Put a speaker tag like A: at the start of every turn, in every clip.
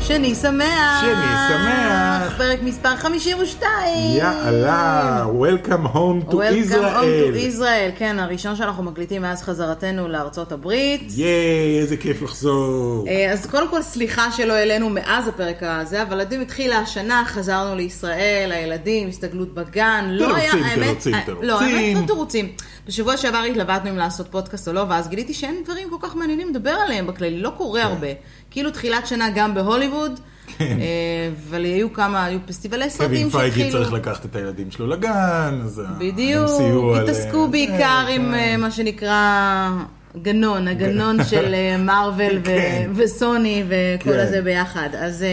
A: שני שמח!
B: שני שמח.
A: פרק מספר 52!
B: יאללה, Welcome
A: Welcome home
B: home to
A: to
B: Israel.
A: Israel, כן, הראשון שאנחנו מקליטים מאז חזרתנו לארצות הברית.
B: ייי, איזה כיף לחזור.
A: אה, אז קודם כל סליחה שלא העלינו מאז הפרק הזה, אבל הילדים התחילה השנה, חזרנו לישראל, הילדים, הסתגלות בגן, לא היה,
B: תירוצים,
A: האמת,
B: תירוצים,
A: אה, לא,
B: תירוצים.
A: האמת לא תירוצים. בשבוע שעבר התלבטנו אם לעשות פודקאסט או לא, ואז גיליתי שאין דברים כל כך מעניינים לדבר עליהם בכללי, לא קורה הרבה. כאילו תחילת שנה גם בהוליווד,
B: כן.
A: אה, אבל היו כמה, היו פסטיבלי
B: קווין
A: סרטים
B: פייגי
A: שהתחילו.
B: צריך לקחת את הילדים שלו לגן, אז ה-
A: בדיוק,
B: הם סייעו על-
A: התעסקו
B: אה,
A: בעיקר
B: כן.
A: עם אה, מה שנקרא גנון, הגנון של אה, מארוול ו-
B: כן.
A: וסוני וכל
B: כן.
A: הזה ביחד. אז אה,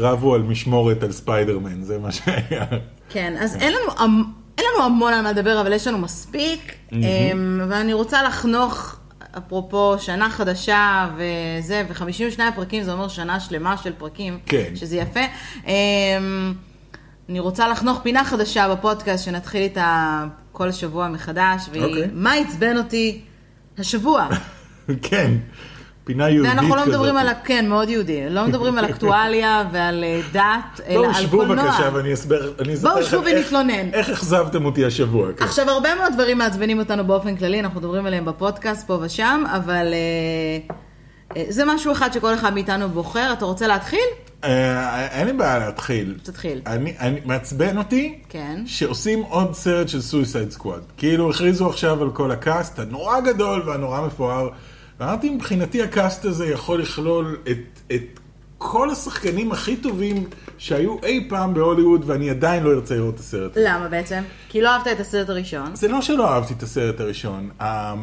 B: רבו על משמורת על ספיידרמן, זה מה שהיה.
A: כן, אז אין לנו המ- אין לנו המון על מה לדבר, אבל יש לנו מספיק. אה, ואני רוצה לחנוך, אפרופו שנה חדשה וזה, ו-52 פרקים, זה אומר שנה שלמה של פרקים,
B: כן.
A: שזה יפה. אה, אני רוצה לחנוך פינה חדשה בפודקאסט, שנתחיל איתה כל שבוע מחדש, והיא
B: אוקיי.
A: מה עצבן אותי השבוע.
B: כן, פינה יהודית כזאת.
A: ואנחנו לא מדברים על, ה- כן, מאוד יהודי, לא מדברים על אקטואליה ועל אה, דת, אלא
B: בואו
A: על
B: שבו
A: קולנוע.
B: בבקשה ואני אסבר, אני אספר
A: בואו,
B: לכם
A: שבו
B: איך-
A: ונתלונן.
B: איך אכזבתם אותי השבוע. כן.
A: עכשיו, הרבה מאוד דברים מעצבנים אותנו באופן כללי, אנחנו מדברים עליהם בפודקאסט פה ושם, אבל אה, אה, זה משהו אחד שכל אחד מאיתנו בוחר. אתה רוצה להתחיל?
B: אה, אין לי בעיה להתחיל.
A: תתחיל.
B: אני, אני, מעצבן אותי,
A: כן.
B: שעושים עוד סרט של סויסייד סקוואד. כאילו הכריזו עכשיו על כל הקאסט הנורא גדול והנורא מפואר. ואמרתי, מבחינתי הקאסט הזה יכול לכלול את, את כל השחקנים הכי טובים שהיו אי פעם בהוליווד, ואני עדיין לא ארצה לראות את הסרט.
A: למה בעצם? כי לא אהבת את הסרט הראשון.
B: זה לא שלא אהבתי את הסרט הראשון, ה-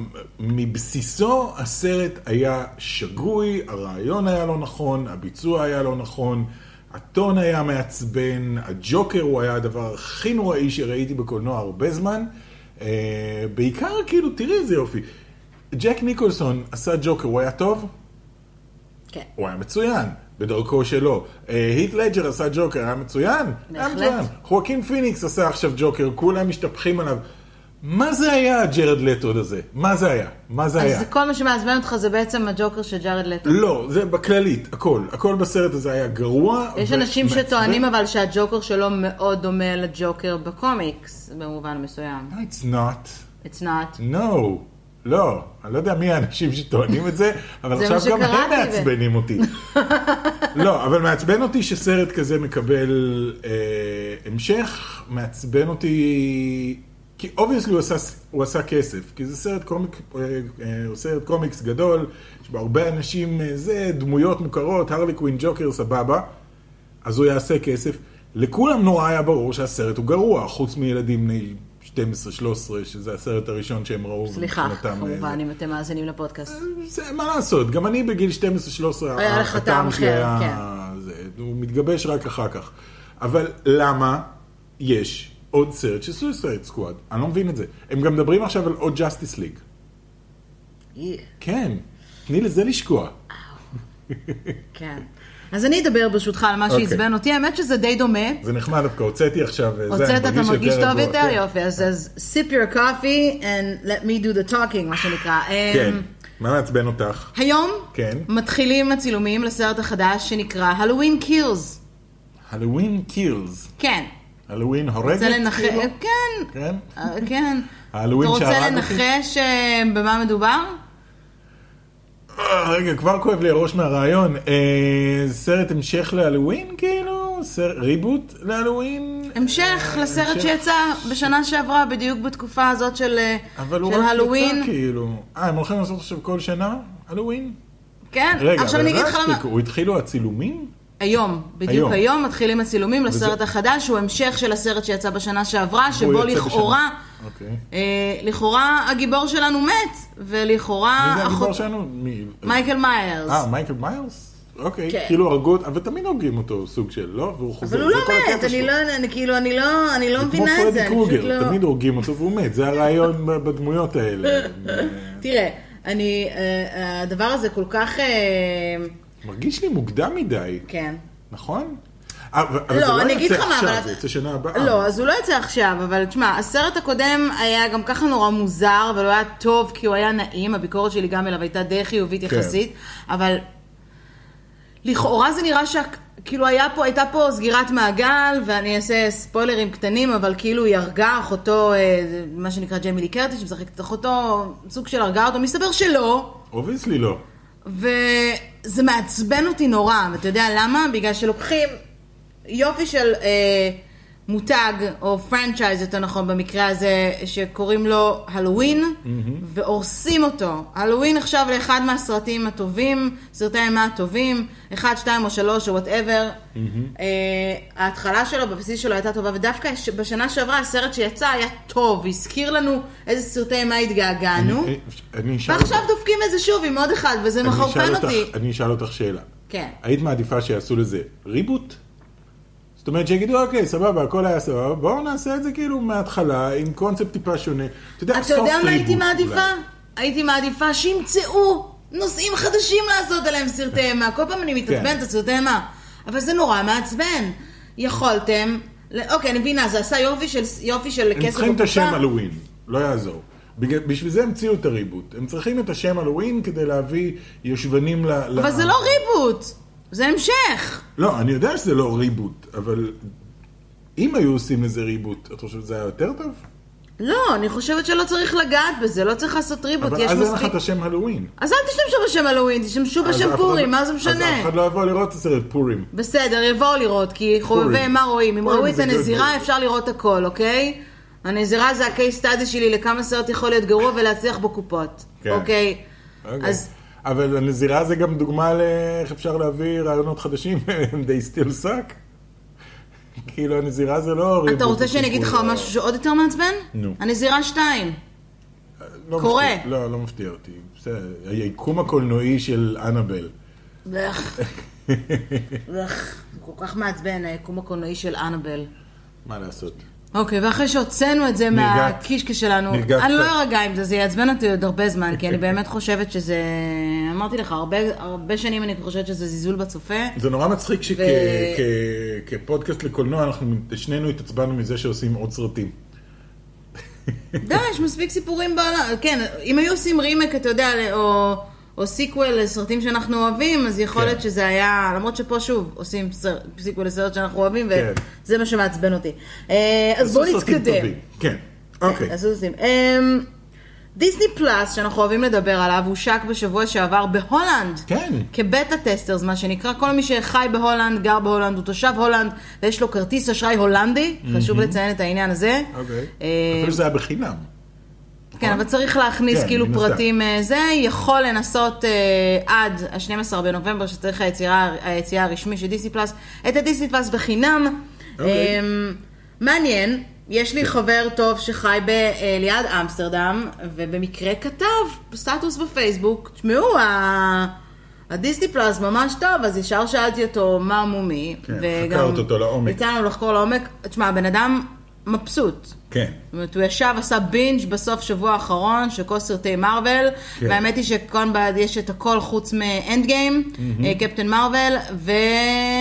B: מבסיסו הסרט היה שגוי, הרעיון היה לא נכון, הביצוע היה לא נכון, הטון היה מעצבן, הג'וקר הוא היה הדבר הכי נוראי שראיתי בקולנוע הרבה זמן. אה, בעיקר כאילו, תראי איזה יופי. ג'ק ניקולסון עשה ג'וקר, הוא היה טוב?
A: כן.
B: הוא היה מצוין, בדרכו שלו. אה, היט לג'ר עשה ג'וקר, היה מצוין? היה
A: בהחלט.
B: מצוין. חואקין פיניקס עשה עכשיו ג'וקר, כולם משתפכים עליו. מה זה היה הג'רד לטוד הזה? מה זה היה? מה זה היה?
A: אז כל מה שמעצבן אותך זה בעצם הג'וקר של ג'ארד לטו.
B: לא, זה בכללית, הכל. הכל בסרט הזה היה גרוע.
A: יש
B: ו-
A: אנשים
B: מעצבן.
A: שטוענים אבל שהג'וקר שלו מאוד דומה לג'וקר בקומיקס, במובן מסוים.
B: No, It's not.
A: It's not.
B: No. לא. אני לא יודע מי האנשים שטוענים את זה, אבל
A: זה
B: עכשיו
A: מה
B: גם הם
A: שקראתי ו-
B: מעצבנים אותי. לא, אבל מעצבן אותי שסרט כזה מקבל אה, המשך, מעצבן אותי, כי אובייסלי הוא, עשה- הוא עשה כסף, כי זה סרט קומיק, אה, אה, הוא סרט קומיקס גדול, יש בו הרבה אנשים, אה, זה דמויות מוכרות, הרלי קווין ג'וקר סבבה, אז הוא יעשה כסף. לכולם נורא היה ברור שהסרט הוא גרוע, חוץ מילדים בני 12-13, שזה הסרט הראשון שהם ראו.
A: סליחה,
B: ומבחינתם, אה,
A: כמובן, אם אתם מאזינים לפודקאסט.
B: זה, מה לעשות, גם אני בגיל 12-13,
A: היה לך טעם
B: הטעם שלי
A: אחר, כן.
B: היה... זה, הוא מתגבש רק אחר כך. אבל למה יש עוד סרט של סויסייד סקוואד? אני לא מבין את זה. הם גם מדברים עכשיו על עוד ג'אסטיס ליג.
A: Yeah.
B: כן, תני לזה לשקוע.
A: כן. אז אני אדבר ברשותך על מה
B: אוקיי.
A: שעצבן אותי, האמת שזה די דומה.
B: זה נחמד דווקא, הוצאתי עכשיו, אה, זה,
A: הוצאת,
B: אני
A: אתה מרגיש טוב
B: רגוע,
A: יותר?
B: כן.
A: יופי, אז אז sip your coffee and let me do the talking, מה שנקרא. אמ,
B: כן, מה מעצבן אותך?
A: היום
B: כן.
A: מתחילים הצילומים לסרט החדש שנקרא Halloween Kills.
B: הלווין קילס.
A: כן.
B: הלווין הורגת?
A: רוצה לנחש...
B: כאילו?
A: כן.
B: כן?
A: אה, כן.
B: Halloween
A: אתה
B: שהרג
A: רוצה
B: אותי?
A: לנחש אה, במה מדובר?
B: אה, רגע, כבר כואב לי הראש מהרעיון. אה, סרט המשך להלווין, כאילו? סר... ריבוט להלווין?
A: המשך לסרט
B: אה, המשך.
A: שיצא בשנה שעברה, בדיוק בתקופה הזאת של אה,
B: אבל הוא
A: של
B: רק
A: הלואוין.
B: יצא כאילו. אה, הם הולכים לעשות עכשיו כל שנה? הלווין?
A: כן.
B: רגע,
A: עכשיו אני
B: אבל
A: אגיד
B: לא
A: לך למה...
B: הספיקו, הוא התחילו הצילומים?
A: היום, בדיוק היום,
B: היום.
A: היום מתחילים הצילומים
B: וזה-
A: לסרט החדש, שהוא המשך של הסרט שיצא בשנה שעברה, שבו
B: והוא יצא
A: לכאורה,
B: בשנה. אוקיי.
A: אה, לכאורה הגיבור שלנו מת, ולכאורה
B: מי זה הגיבור
A: אחות-
B: שלנו? מי-
A: מייקל מיירס.
B: אה, מייקל מיילס? אוקיי.
A: כן.
B: כאילו הרגו אותו, אבל תמיד הורגים אותו סוג של, לא? והוא חוזר.
A: אבל הוא לא
B: זה כל
A: מת,
B: הקטע
A: אני
B: שלו.
A: לא, אני כאילו, אני לא, אני לא
B: זה כמו
A: מבינה את זה,
B: פרדי
A: אני פשוט
B: קרוגר,
A: לא...
B: תמיד הורגים אותו והוא מת, זה הרעיון ב- בדמויות האלה.
A: תראה, אני, אה, הדבר הזה כל כך, אה,
B: מרגיש לי מוקדם מדי.
A: כן.
B: נכון? אה, אבל אבל
A: לא,
B: זה לא
A: אני אגיד
B: יצא
A: לך מה,
B: עכשיו,
A: אבל-
B: זה יצא שנה הבאה.
A: לא, אז הוא לא יצא עכשיו, אבל תשמע, הסרט הקודם היה גם ככה נורא מוזר, אבל הוא היה טוב כי הוא היה נעים, הביקורת שלי גם אליו הייתה די חיובית
B: כן.
A: יחסית, אבל לכאורה זה נראה שה... כאילו היה פה, הייתה פה סגירת מעגל, ואני אעשה ספוילרים קטנים, אבל כאילו היא הרגה אחותו, אה, מה שנקרא ג'מילי קרטיס, שמשחקת את אחותו, סוג של הרגה אותו, מסתבר שלא,
B: אובייסלי לא.
A: וזה מעצבן אותי נורא, ואתה יודע למה? בגלל שלוקחים יופי של אה, מותג, או פרנצ'ייז יותר נכון במקרה הזה, שקוראים לו הלואוין, והורסים אותו. הלואוין עכשיו לאחד מהסרטים הטובים, סרטי האימה הטובים, אחד, שתיים או שלוש או וואטאבר. אה, ההתחלה שלו, בבסיס שלו הייתה טובה, ודווקא ש- בשנה שעברה הסרט שיצא היה טוב, הזכיר לנו איזה סרטי אימה התגעגענו.
B: אני- אני אשאל
A: ועכשיו
B: אותך-
A: דופקים את זה שוב עם עוד אחד, וזה
B: אני אשאל
A: מחרפן
B: אותך-
A: אותי.
B: אני אשאל אותך שאלה.
A: כן.
B: היית מעדיפה שיעשו לזה ריבוט? זאת אומרת שיגידו, אוקיי, סבבה, הכל היה סבבה, בואו נעשה את זה כאילו מההתחלה, עם קונספט טיפה שונה. אתה יודע,
A: אתה יודע
B: soft
A: מה הייתי
B: reboot
A: מעדיפה?
B: אולי.
A: הייתי מעדיפה שימצאו נושאים חדשים לעשות עליהם סרטי אימה. כל פעם אני מתעצבנת
B: כן.
A: על סרטי אימה. אבל זה נורא מעצבן. יכולתם... ל- אוקיי, אני מבינה, זה עשה יופי של יופי של כסף.
B: הם צריכים את
A: בקופה.
B: השם הלואוין, לא יעזור. בגלל- בשביל זה המציאו את הריבוט. הם צריכים את השם הלואוין כדי להביא יושבנים ל...
A: אבל זה לא ריבוט, זה המשך.
B: לא, אני יודע שזה לא ריבוט, אבל אם היו עושים לזה ריבוט, את חושבת שזה היה יותר טוב?
A: לא, אני חושבת שלא צריך לגעת בזה, לא צריך לעשות ריבוט,
B: אבל
A: יש
B: אז אין לך
A: מספיק...
B: את השם הלואוין.
A: אז אל תשתמשו בשם הלואוין, תשתמשו
B: אז אף
A: בשם
B: אחד-
A: פורים, מה זה
B: אז
A: משנה?
B: אף אחד לא יבוא לראות את הסרט פורים.
A: בסדר, יבואו לראות, כי חובבי מה רואים. אם
B: פורים
A: ראו את
B: זה גדול.
A: הנזירה, אפשר לראות הכל, אוקיי? הנזירה זה ה-case study שלי לכמה סרט יכול להיות גרוע ולהצליח בקופות,
B: כן.
A: אוקיי?
B: אוקיי.
A: אז-
B: אבל הנזירה זה גם דוגמה לאיך אפשר להביא רעיונות חדשים, they still suck. כאילו הנזירה זה לא ריבוט.
A: אתה רוצה שאני אגיד לך
B: לא-
A: משהו שעוד יותר מעצבן?
B: נו.
A: הנזירה 2.
B: לא
A: קורה.
B: מפתיע- לא, לא מפתיע אותי. בסדר, היקום הקולנועי של אנבל.
A: ואיך, ואיך, זה כל כך מעצבן, היקום הקולנועי של אנבל.
B: מה לעשות?
A: אוקיי, ואחרי שהוצאנו את זה
B: נרגעת.
A: מהקישקע שלנו,
B: נרגעת
A: אני לא
B: קצת.
A: ארגע עם זה, זה יעצבן אותי עוד הרבה זמן, כי אני באמת חושבת שזה... אמרתי לך, הרבה, הרבה שנים אני חושבת שזה זלזול בצופה.
B: זה נורא מצחיק
A: ו-
B: שכפודקאסט לקולנוע, אנחנו שנינו התעצבנו מזה שעושים עוד סרטים.
A: די, יש מספיק סיפורים בעולם. כן, אם היו עושים רימק, אתה יודע, ל- או, או סיקוול לסרטים שאנחנו אוהבים, אז יכול
B: כן.
A: להיות שזה היה... למרות שפה שוב עושים סר, סיקוול לסרט שאנחנו אוהבים,
B: כן.
A: וזה מה שמעצבן אותי. אה, אז בואו
B: עשו סרטים
A: נתקדם.
B: טובים. כן, אוקיי.
A: אז עושים. אמ, דיסני פלאס, שאנחנו אוהבים לדבר עליו, הושק בשבוע שעבר בהולנד.
B: כן.
A: כבטה טסטרס, מה שנקרא. כל מי שחי בהולנד, גר בהולנד, הוא תושב הולנד, ויש לו כרטיס אשראי הולנדי. חשוב לציין את העניין הזה.
B: אוקיי.
A: אמ,
B: אפילו שזה היה בחינם.
A: כן, אבל צריך להכניס
B: כן,
A: כאילו
B: מן הסתם.
A: פרטים אה, זה, יכול לנסות אה, עד ה-12 בנובמבר, שצריך היצירה, היציאה הרשמי של דיסני פלאס, את הדיסני פלאס בחינם.
B: אוקיי. כן.
A: אה, מעניין, יש לי חבר טוב שחי ב, אה, ליד אמסטרדם, ובמקרה כתב סטטוס בפייסבוק, תשמעו, ה... הדיסני פלאס ממש טוב, אז ישר שאלתי אותו מה מומי.
B: כן, חקרת אותו לעומק.
A: יצא לנו לחקור לעומק. תשמע, הבן אדם מבסוט.
B: כן.
A: זאת אומרת, הוא ישב, עשה בינג' בסוף שבוע האחרון של כל סרטי מרוויל.
B: כן.
A: כן. והאמת היא שכאן בעד יש את הכל חוץ מאנד גיים, אה, קפטן מרוויל, ו...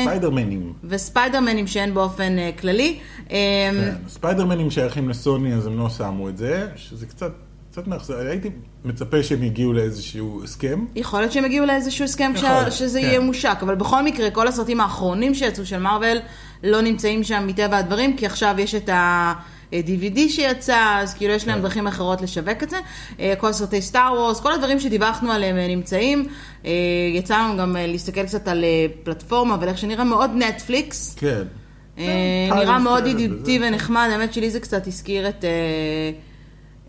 B: ספיידרמנים.
A: אה. וספיידרמנים שאין באופן אה, כללי. אה,
B: כן, הספיידרמנים שייכים לסוני, אז הם לא שמו את זה, שזה קצת, קצת מאכזר. הייתי מצפה שהם יגיעו לאיזשהו הסכם.
A: יכול להיות שהם יגיעו לאיזשהו הסכם
B: יכול להיות,
A: כשה- שזה
B: כן.
A: יהיה מושק, אבל בכל מקרה, כל הסרטים האחרונים שיצאו של מארוול לא נמצאים שם מטבע הדברים, כי עכשיו יש את ה-DVD שיצא, אז כאילו יש
B: כן.
A: להם דרכים אחרות לשווק את זה. אה, כל סרטי סטאר וורס, כל הדברים שדיווחנו עליהם אה, נמצאים. אה, יצא לנו גם אה, להסתכל קצת על אה, פלטפורמה ועל איך שנראה מאוד נטפליקס.
B: כן.
A: אה,
B: כן,
A: נראה
B: פאנל
A: מאוד
B: סטייל
A: ידידותי
B: וזה.
A: ונחמד, האמת שלי זה קצת הזכיר את, אה,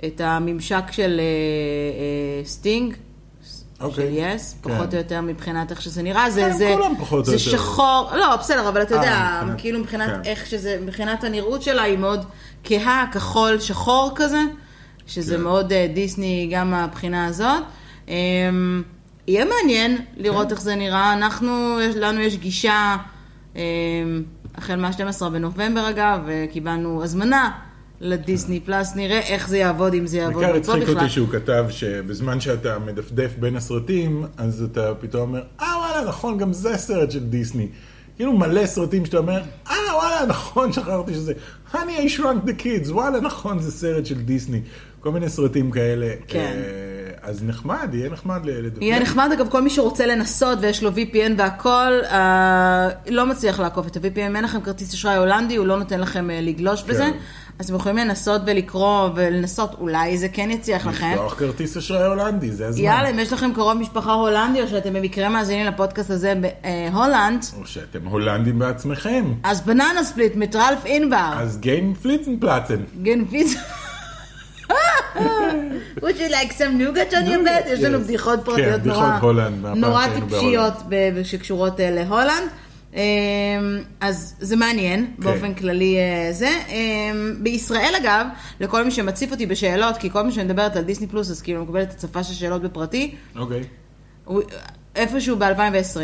A: את הממשק של אה, אה, סטינג.
B: אוקיי.
A: של יס,
B: כן.
A: פחות או יותר מבחינת איך שזה נראה, זה,
B: הם
A: זה,
B: כולם פחות או
A: זה
B: יותר.
A: שחור, לא בסדר, אבל אתה
B: אה,
A: יודע,
B: מבחינת-
A: כאילו מבחינת
B: כן.
A: איך שזה, מבחינת הנראות שלה היא מאוד כהה, כחול, שחור כזה, שזה
B: כן.
A: מאוד אה, דיסני גם מהבחינה הזאת. אה, יהיה מעניין
B: כן.
A: לראות איך זה נראה, אנחנו, יש- לנו יש גישה, אה, החל מה-12 בנובמבר אגב, וקיבלנו הזמנה לדיסני פלאס, נראה איך זה יעבוד, אם זה יעבוד
B: כן. בעיקר
A: מפה
B: הצחיק
A: בכלל.
B: אותי שהוא כתב שבזמן שאתה מדפדף בין הסרטים, אז אתה פתאום אומר, אה וואלה, נכון, גם זה סרט של דיסני. כאילו מלא סרטים שאתה אומר, אה וואלה, נכון, שכחתי שזה, honey, I shrunk the kids, וואלה, נכון, זה סרט של דיסני. כל מיני סרטים כאלה.
A: כן.
B: אה, אז נחמד, יהיה נחמד לילד.
A: יהיה נחמד, אגב, כל מי שרוצה לנסות ויש לו VPN והכל, אה, לא מצליח לעקוף את ה-VPN, אם אין לכם כרטיס אשראי הולנדי, הוא לא נותן לכם אה, לגלוש בזה.
B: כן.
A: אז אתם יכולים לנסות ולקרוא ולנסות, אולי זה כן יצליח לכם.
B: לפתוח כרטיס אשראי הולנדי, זה הזמן.
A: יאללה, אם יש לכם קרוב משפחה הולנדי, או שאתם במקרה מאזינים לפודקאסט הזה בהולנד,
B: או שאתם הולנדים בעצמכם.
A: אז בננה ספליט מטרלף אינבר.
B: אז גיים פליצנפלצן.
A: גנביז... would you like some nougat on your bed? יש לנו
B: Yes.
A: בדיחות פרטיות
B: כן, בדיחות
A: נורא,
B: הולנד, מהפעם
A: נורא
B: שהיינו
A: טיפשיות ב- שקשורות אה, להולנד. אמ, אז זה מעניין,
B: כן.
A: באופן כללי אה, זה. אמ, בישראל אגב, לכל מי שמציף אותי בשאלות, כי כל מי שמדברת על דיסני פלוס, אז כאילו מקבלת הצפה של שאלות בפרטי,
B: אוקיי.
A: הוא- איפשהו ב-2020.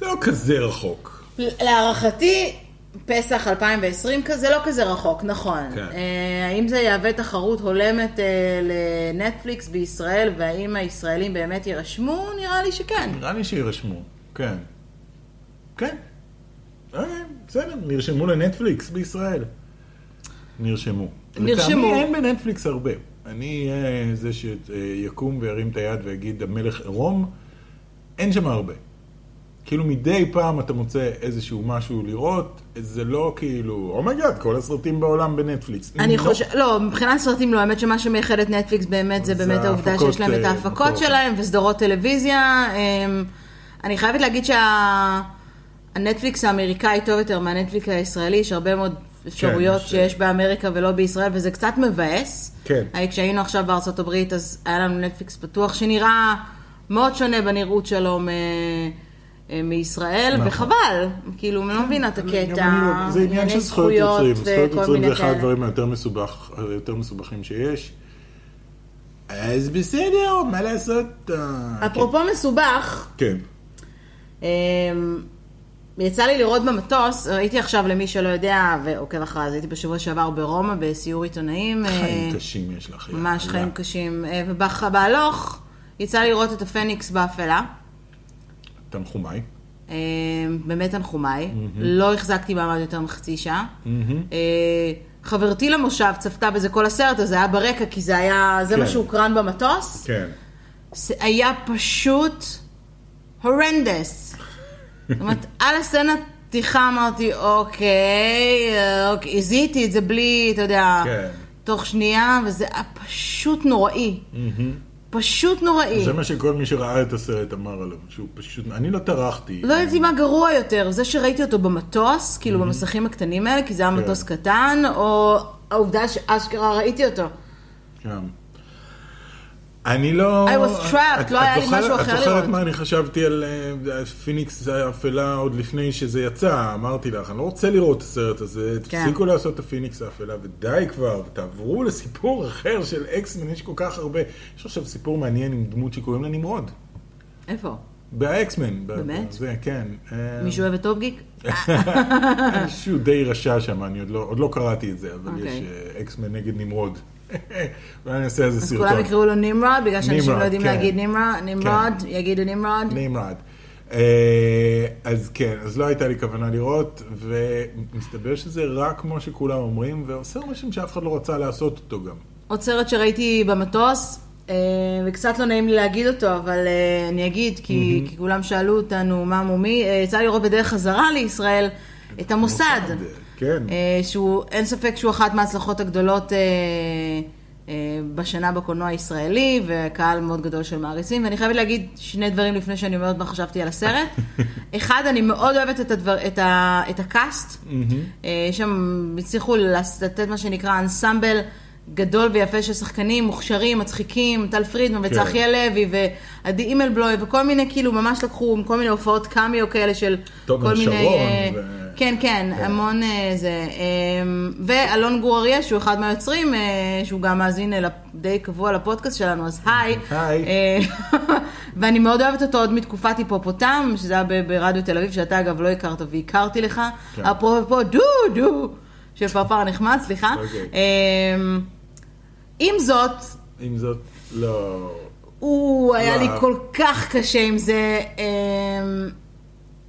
B: זה לא כזה רחוק.
A: להערכתי, פסח 2020 כזה לא כזה רחוק, נכון.
B: כן.
A: אה, האם זה יהווה תחרות הולמת אה, לנטפליקס בישראל, והאם הישראלים באמת יירשמו? נראה לי שכן.
B: נראה לי שירשמו. כן. כן. אוקיי, בסדר, נרשמו לנטפליקס בישראל. נרשמו.
A: נרשמו.
B: לטעמי אין בנטפליקס הרבה. אני אהיה זה שיקום וירים את היד ויגיד המלך עירום, אין שם הרבה. כאילו מדי פעם אתה מוצא איזשהו משהו לראות, זה לא כאילו, אומייגאד, כל הסרטים בעולם בנטפליקס.
A: אני
B: לא.
A: חושב, לא, מבחינת סרטים לא, האמת שמה שמייחד את נטפליקס באמת זה
B: זה
A: באמת העובדה
B: ההפקות,
A: שיש להם את
B: אה,
A: ההפקות
B: מקור.
A: שלהם וסדרות טלוויזיה. אמ, אני חייבת להגיד שהנטפליקס האמריקאי טוב יותר מהנטפליקס הישראלי, יש הרבה מאוד אפשרויות
B: כן, יש, אה,
A: שיש באמריקה ולא בישראל, וזה קצת מבאס.
B: כן.
A: אה, כשהיינו עכשיו בארצות הברית, אז היה לנו נטפליקס פתוח, שנראה מאוד שונה בנראות שלו מ- אה, מישראל,
B: נכון.
A: וחבל, כאילו, אני לא מבינה את
B: גם
A: הקטע,
B: אני לא- זה עניין של זכויות יוצרים. זכויות
A: וכל
B: יוצרים זה
A: מיני
B: אחד
A: כאלה.
B: הדברים היותר מסובך, היותר מסובכים שיש. אז בסדר, מה לעשות? אה,
A: אפרופו מסובך,
B: כן.
A: אמ, יצא לי לראות במטוס, הייתי עכשיו למי שלא יודע ועוקב אחריי, אז הייתי בשבוע שעבר ברומא בסיור עיתונאים. אה,
B: חיים קשים יש לך. יא
A: ממש
B: חיה.
A: חיים קשים. אה, ובהלוך יצא לי לראות את הפניקס באפלה.
B: תנחומיי.
A: אה, באמת תנחומיי. לא החזקתי מעמד יותר מחצי שעה. אה, חברתי למושב צפתה בזה כל הסרט, אז זה היה ברקע, כי זה היה, זה מה
B: כן.
A: שהוקרן במטוס.
B: כן.
A: זה היה פשוט הורנדס. זאת אומרת, על הסצנת פתיחה אמרתי, אוקיי, אה, אוקיי, הזיתי את זה בלי, אתה יודע,
B: כן.
A: תוך שנייה, וזה היה פשוט נוראי. פשוט נוראי.
B: זה מה שכל מי שראה את הסרט אמר עליו, שהוא פשוט, אני לא טרחתי.
A: לא יודעת מה גרוע יותר, זה שראיתי אותו במטוס, כאילו במסכים הקטנים האלה, כי זה היה
B: כן.
A: מטוס קטן, או העובדה שאשכרה ראיתי אותו.
B: שם. כן. אני לא...
A: I was trapped,
B: את-
A: לא
B: את
A: היה לי
B: זוכרת-
A: משהו אחר
B: את זוכרת
A: לראות.
B: מה אני חשבתי על אה, פיניקס האפלה עוד לפני שזה יצא, אמרתי לך, אני לא רוצה לראות את הסרט הזה,
A: כן.
B: תפסיקו לעשות את הפיניקס האפלה, ודי כבר, ותעברו לסיפור אחר של אקסמן, יש כל כך הרבה. יש עכשיו סיפור מעניין עם דמות שקוראים לה נמרוד,
A: איפה?
B: באקסמן. ב-
A: באמת?
B: זה, כן. אה,
A: מישהו אוהב את טופ גיק?
B: מישהו די רשע שם, אני עוד לא, עוד לא קראתי את זה, אבל יש
A: אוקיי.
B: אה, אקסמן נגד נמרוד. אולי אני אעשה איזה
A: אז
B: סרטון.
A: כולם יקראו לו נמרוד, בגלל שאנשים
B: נמרוד,
A: לא יודעים
B: כן.
A: להגיד נמרוד, נמרוד, יגידו נמרוד.
B: נמרד. אה, אז כן, אז לא הייתה לי כוונה לראות, ומסתבר שזה רק כמו שכולם אומרים, ועושה רושם שאף אחד לא רצה לעשות אותו גם.
A: עוד סרט שראיתי במטוס, אה, וקצת לא נעים לי להגיד אותו, אבל אה, אני אגיד, כי כי כולם שאלו אותנו מה מומי, אה, יצא לי לראות בדרך חזרה לישראל את המוסד,
B: מוסד, כן.
A: אה, שהוא, אין ספק שהוא אחת מההצלחות הגדולות אה, אה, בשנה בקולנוע הישראלי, וקהל מאוד גדול של מעריצים, ואני חייבת להגיד שני דברים לפני שאני אומרת מה חשבתי על הסרט. אחד, אני מאוד אוהבת את, הדבר, את, ה, את הקאסט. אה, שם הצליחו לס- לתת מה שנקרא אנסמבל גדול ויפה של שחקנים מוכשרים, מצחיקים, טל פרידמן
B: כן.
A: וצחי הלוי ועדי אימלבלוי וכל מיני, כאילו ממש לקחו כל מיני הופעות קאמיו כאלה של כל
B: תומר
A: מיני...
B: שרון
A: אה,
B: ו-
A: כן, כן,
B: כן.
A: המון אה, זה. אה, ואלון גור אריה, שהוא אחד מהיוצרים, אה, שהוא גם מאזין אה, לפ- די קבוע לפודקאסט שלנו, אז היי.
B: היי.
A: אה, ואני מאוד אוהבת אותו עוד מתקופת היפופוטם, שזה היה ב- ברדיו תל אביב, שאתה אגב לא הכרת והכרתי לך.
B: כן.
A: אפרופו דו דו של פרפר נחמד, סליחה.
B: אוקיי.
A: אה, עם זאת,
B: עם זאת, לא...
A: הוא היה לי
B: וואו.
A: כל כך קשה עם זה. אה,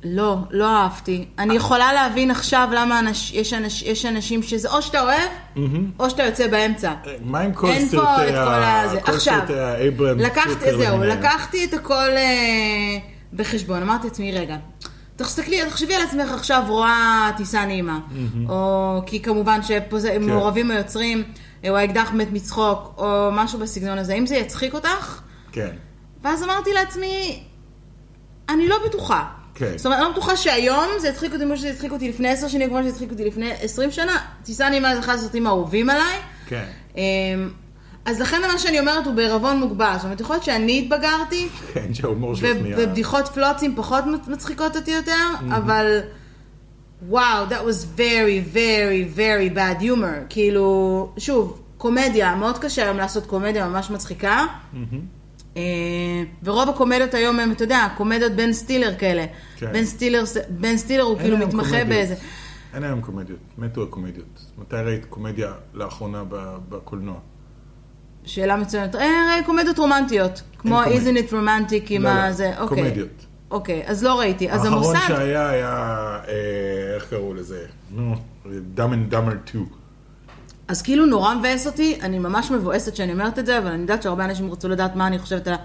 A: לא, לא אהבתי. אני יכולה להבין עכשיו למה אנש, יש, אנש, יש אנשים שזה או שאתה אוהב, או שאתה יוצא באמצע.
B: אה, מה עם כל
A: אין פה
B: סרטי
A: את כל
B: ה-
A: הזה.
B: כל
A: עכשיו,
B: סרטי האברהם
A: לקחתי,
B: סופר
A: זהו,
B: למיניהם?
A: לקחתי את הכל אה, בחשבון. אמרתי לעצמי, רגע, תסתכלי, תחשבי על עצמך עכשיו רואה טיסה נעימה. או כי כמובן שפה זה מעורבים היוצרים, אה, או האקדח מת מצחוק, או משהו בסגנון הזה. אם זה יצחיק אותך,
B: כן.
A: ואז אמרתי לעצמי, אני לא בטוחה.
B: כן.
A: זאת אומרת, אני לא בטוחה שהיום זה יצחיק אותי כמו שזה יצחיק אותי לפני עשר שנים, כמו שזה יצחיק אותי לפני עשרים שנה. טיסה נעימה זה אחד הסרטים האהובים עליי.
B: כן.
A: אמ, אז לכן מה שאני אומרת הוא בעירבון מוגבל. זאת אומרת, יכול להיות שאני התבגרתי,
B: כן, שההומור שלך
A: ו-
B: נהיה...
A: ובדיחות פלוצים פחות מצחיקות אותי יותר, אבל... וואו, that was very very very bad humor. כאילו, שוב, קומדיה, מאוד קשה היום לעשות קומדיה ממש מצחיקה. אה, ורוב הקומדיות היום הם, אתה יודע, קומדיות בן סטילר כאלה.
B: כן.
A: בן סטילר, בן סטילר הוא
B: אין
A: כאילו
B: היום
A: מתמחה
B: קומדיות.
A: באיזה...
B: אין היום קומדיות, מתו הקומדיות. מתי ראית קומדיה לאחרונה ב- בקולנוע?
A: שאלה מצוינת. אה, קומדיות רומנטיות. כמו
B: קומדיה.
A: isn't it romantic עם
B: לא, לא,
A: הזה. אוקיי.
B: קומדיות.
A: אוקיי, אז לא ראיתי. אז
B: האחרון
A: המוסד...
B: שהיה היה, אה, איך קראו לזה? נו, דאם אנד דאמר 2.
A: Mm-hmm. אז כאילו נורא מבאס אותי, אני ממש מבואסת שאני אומרת את זה, אבל אני יודעת שהרבה אנשים רצו לדעת מה אני חושבת על ה...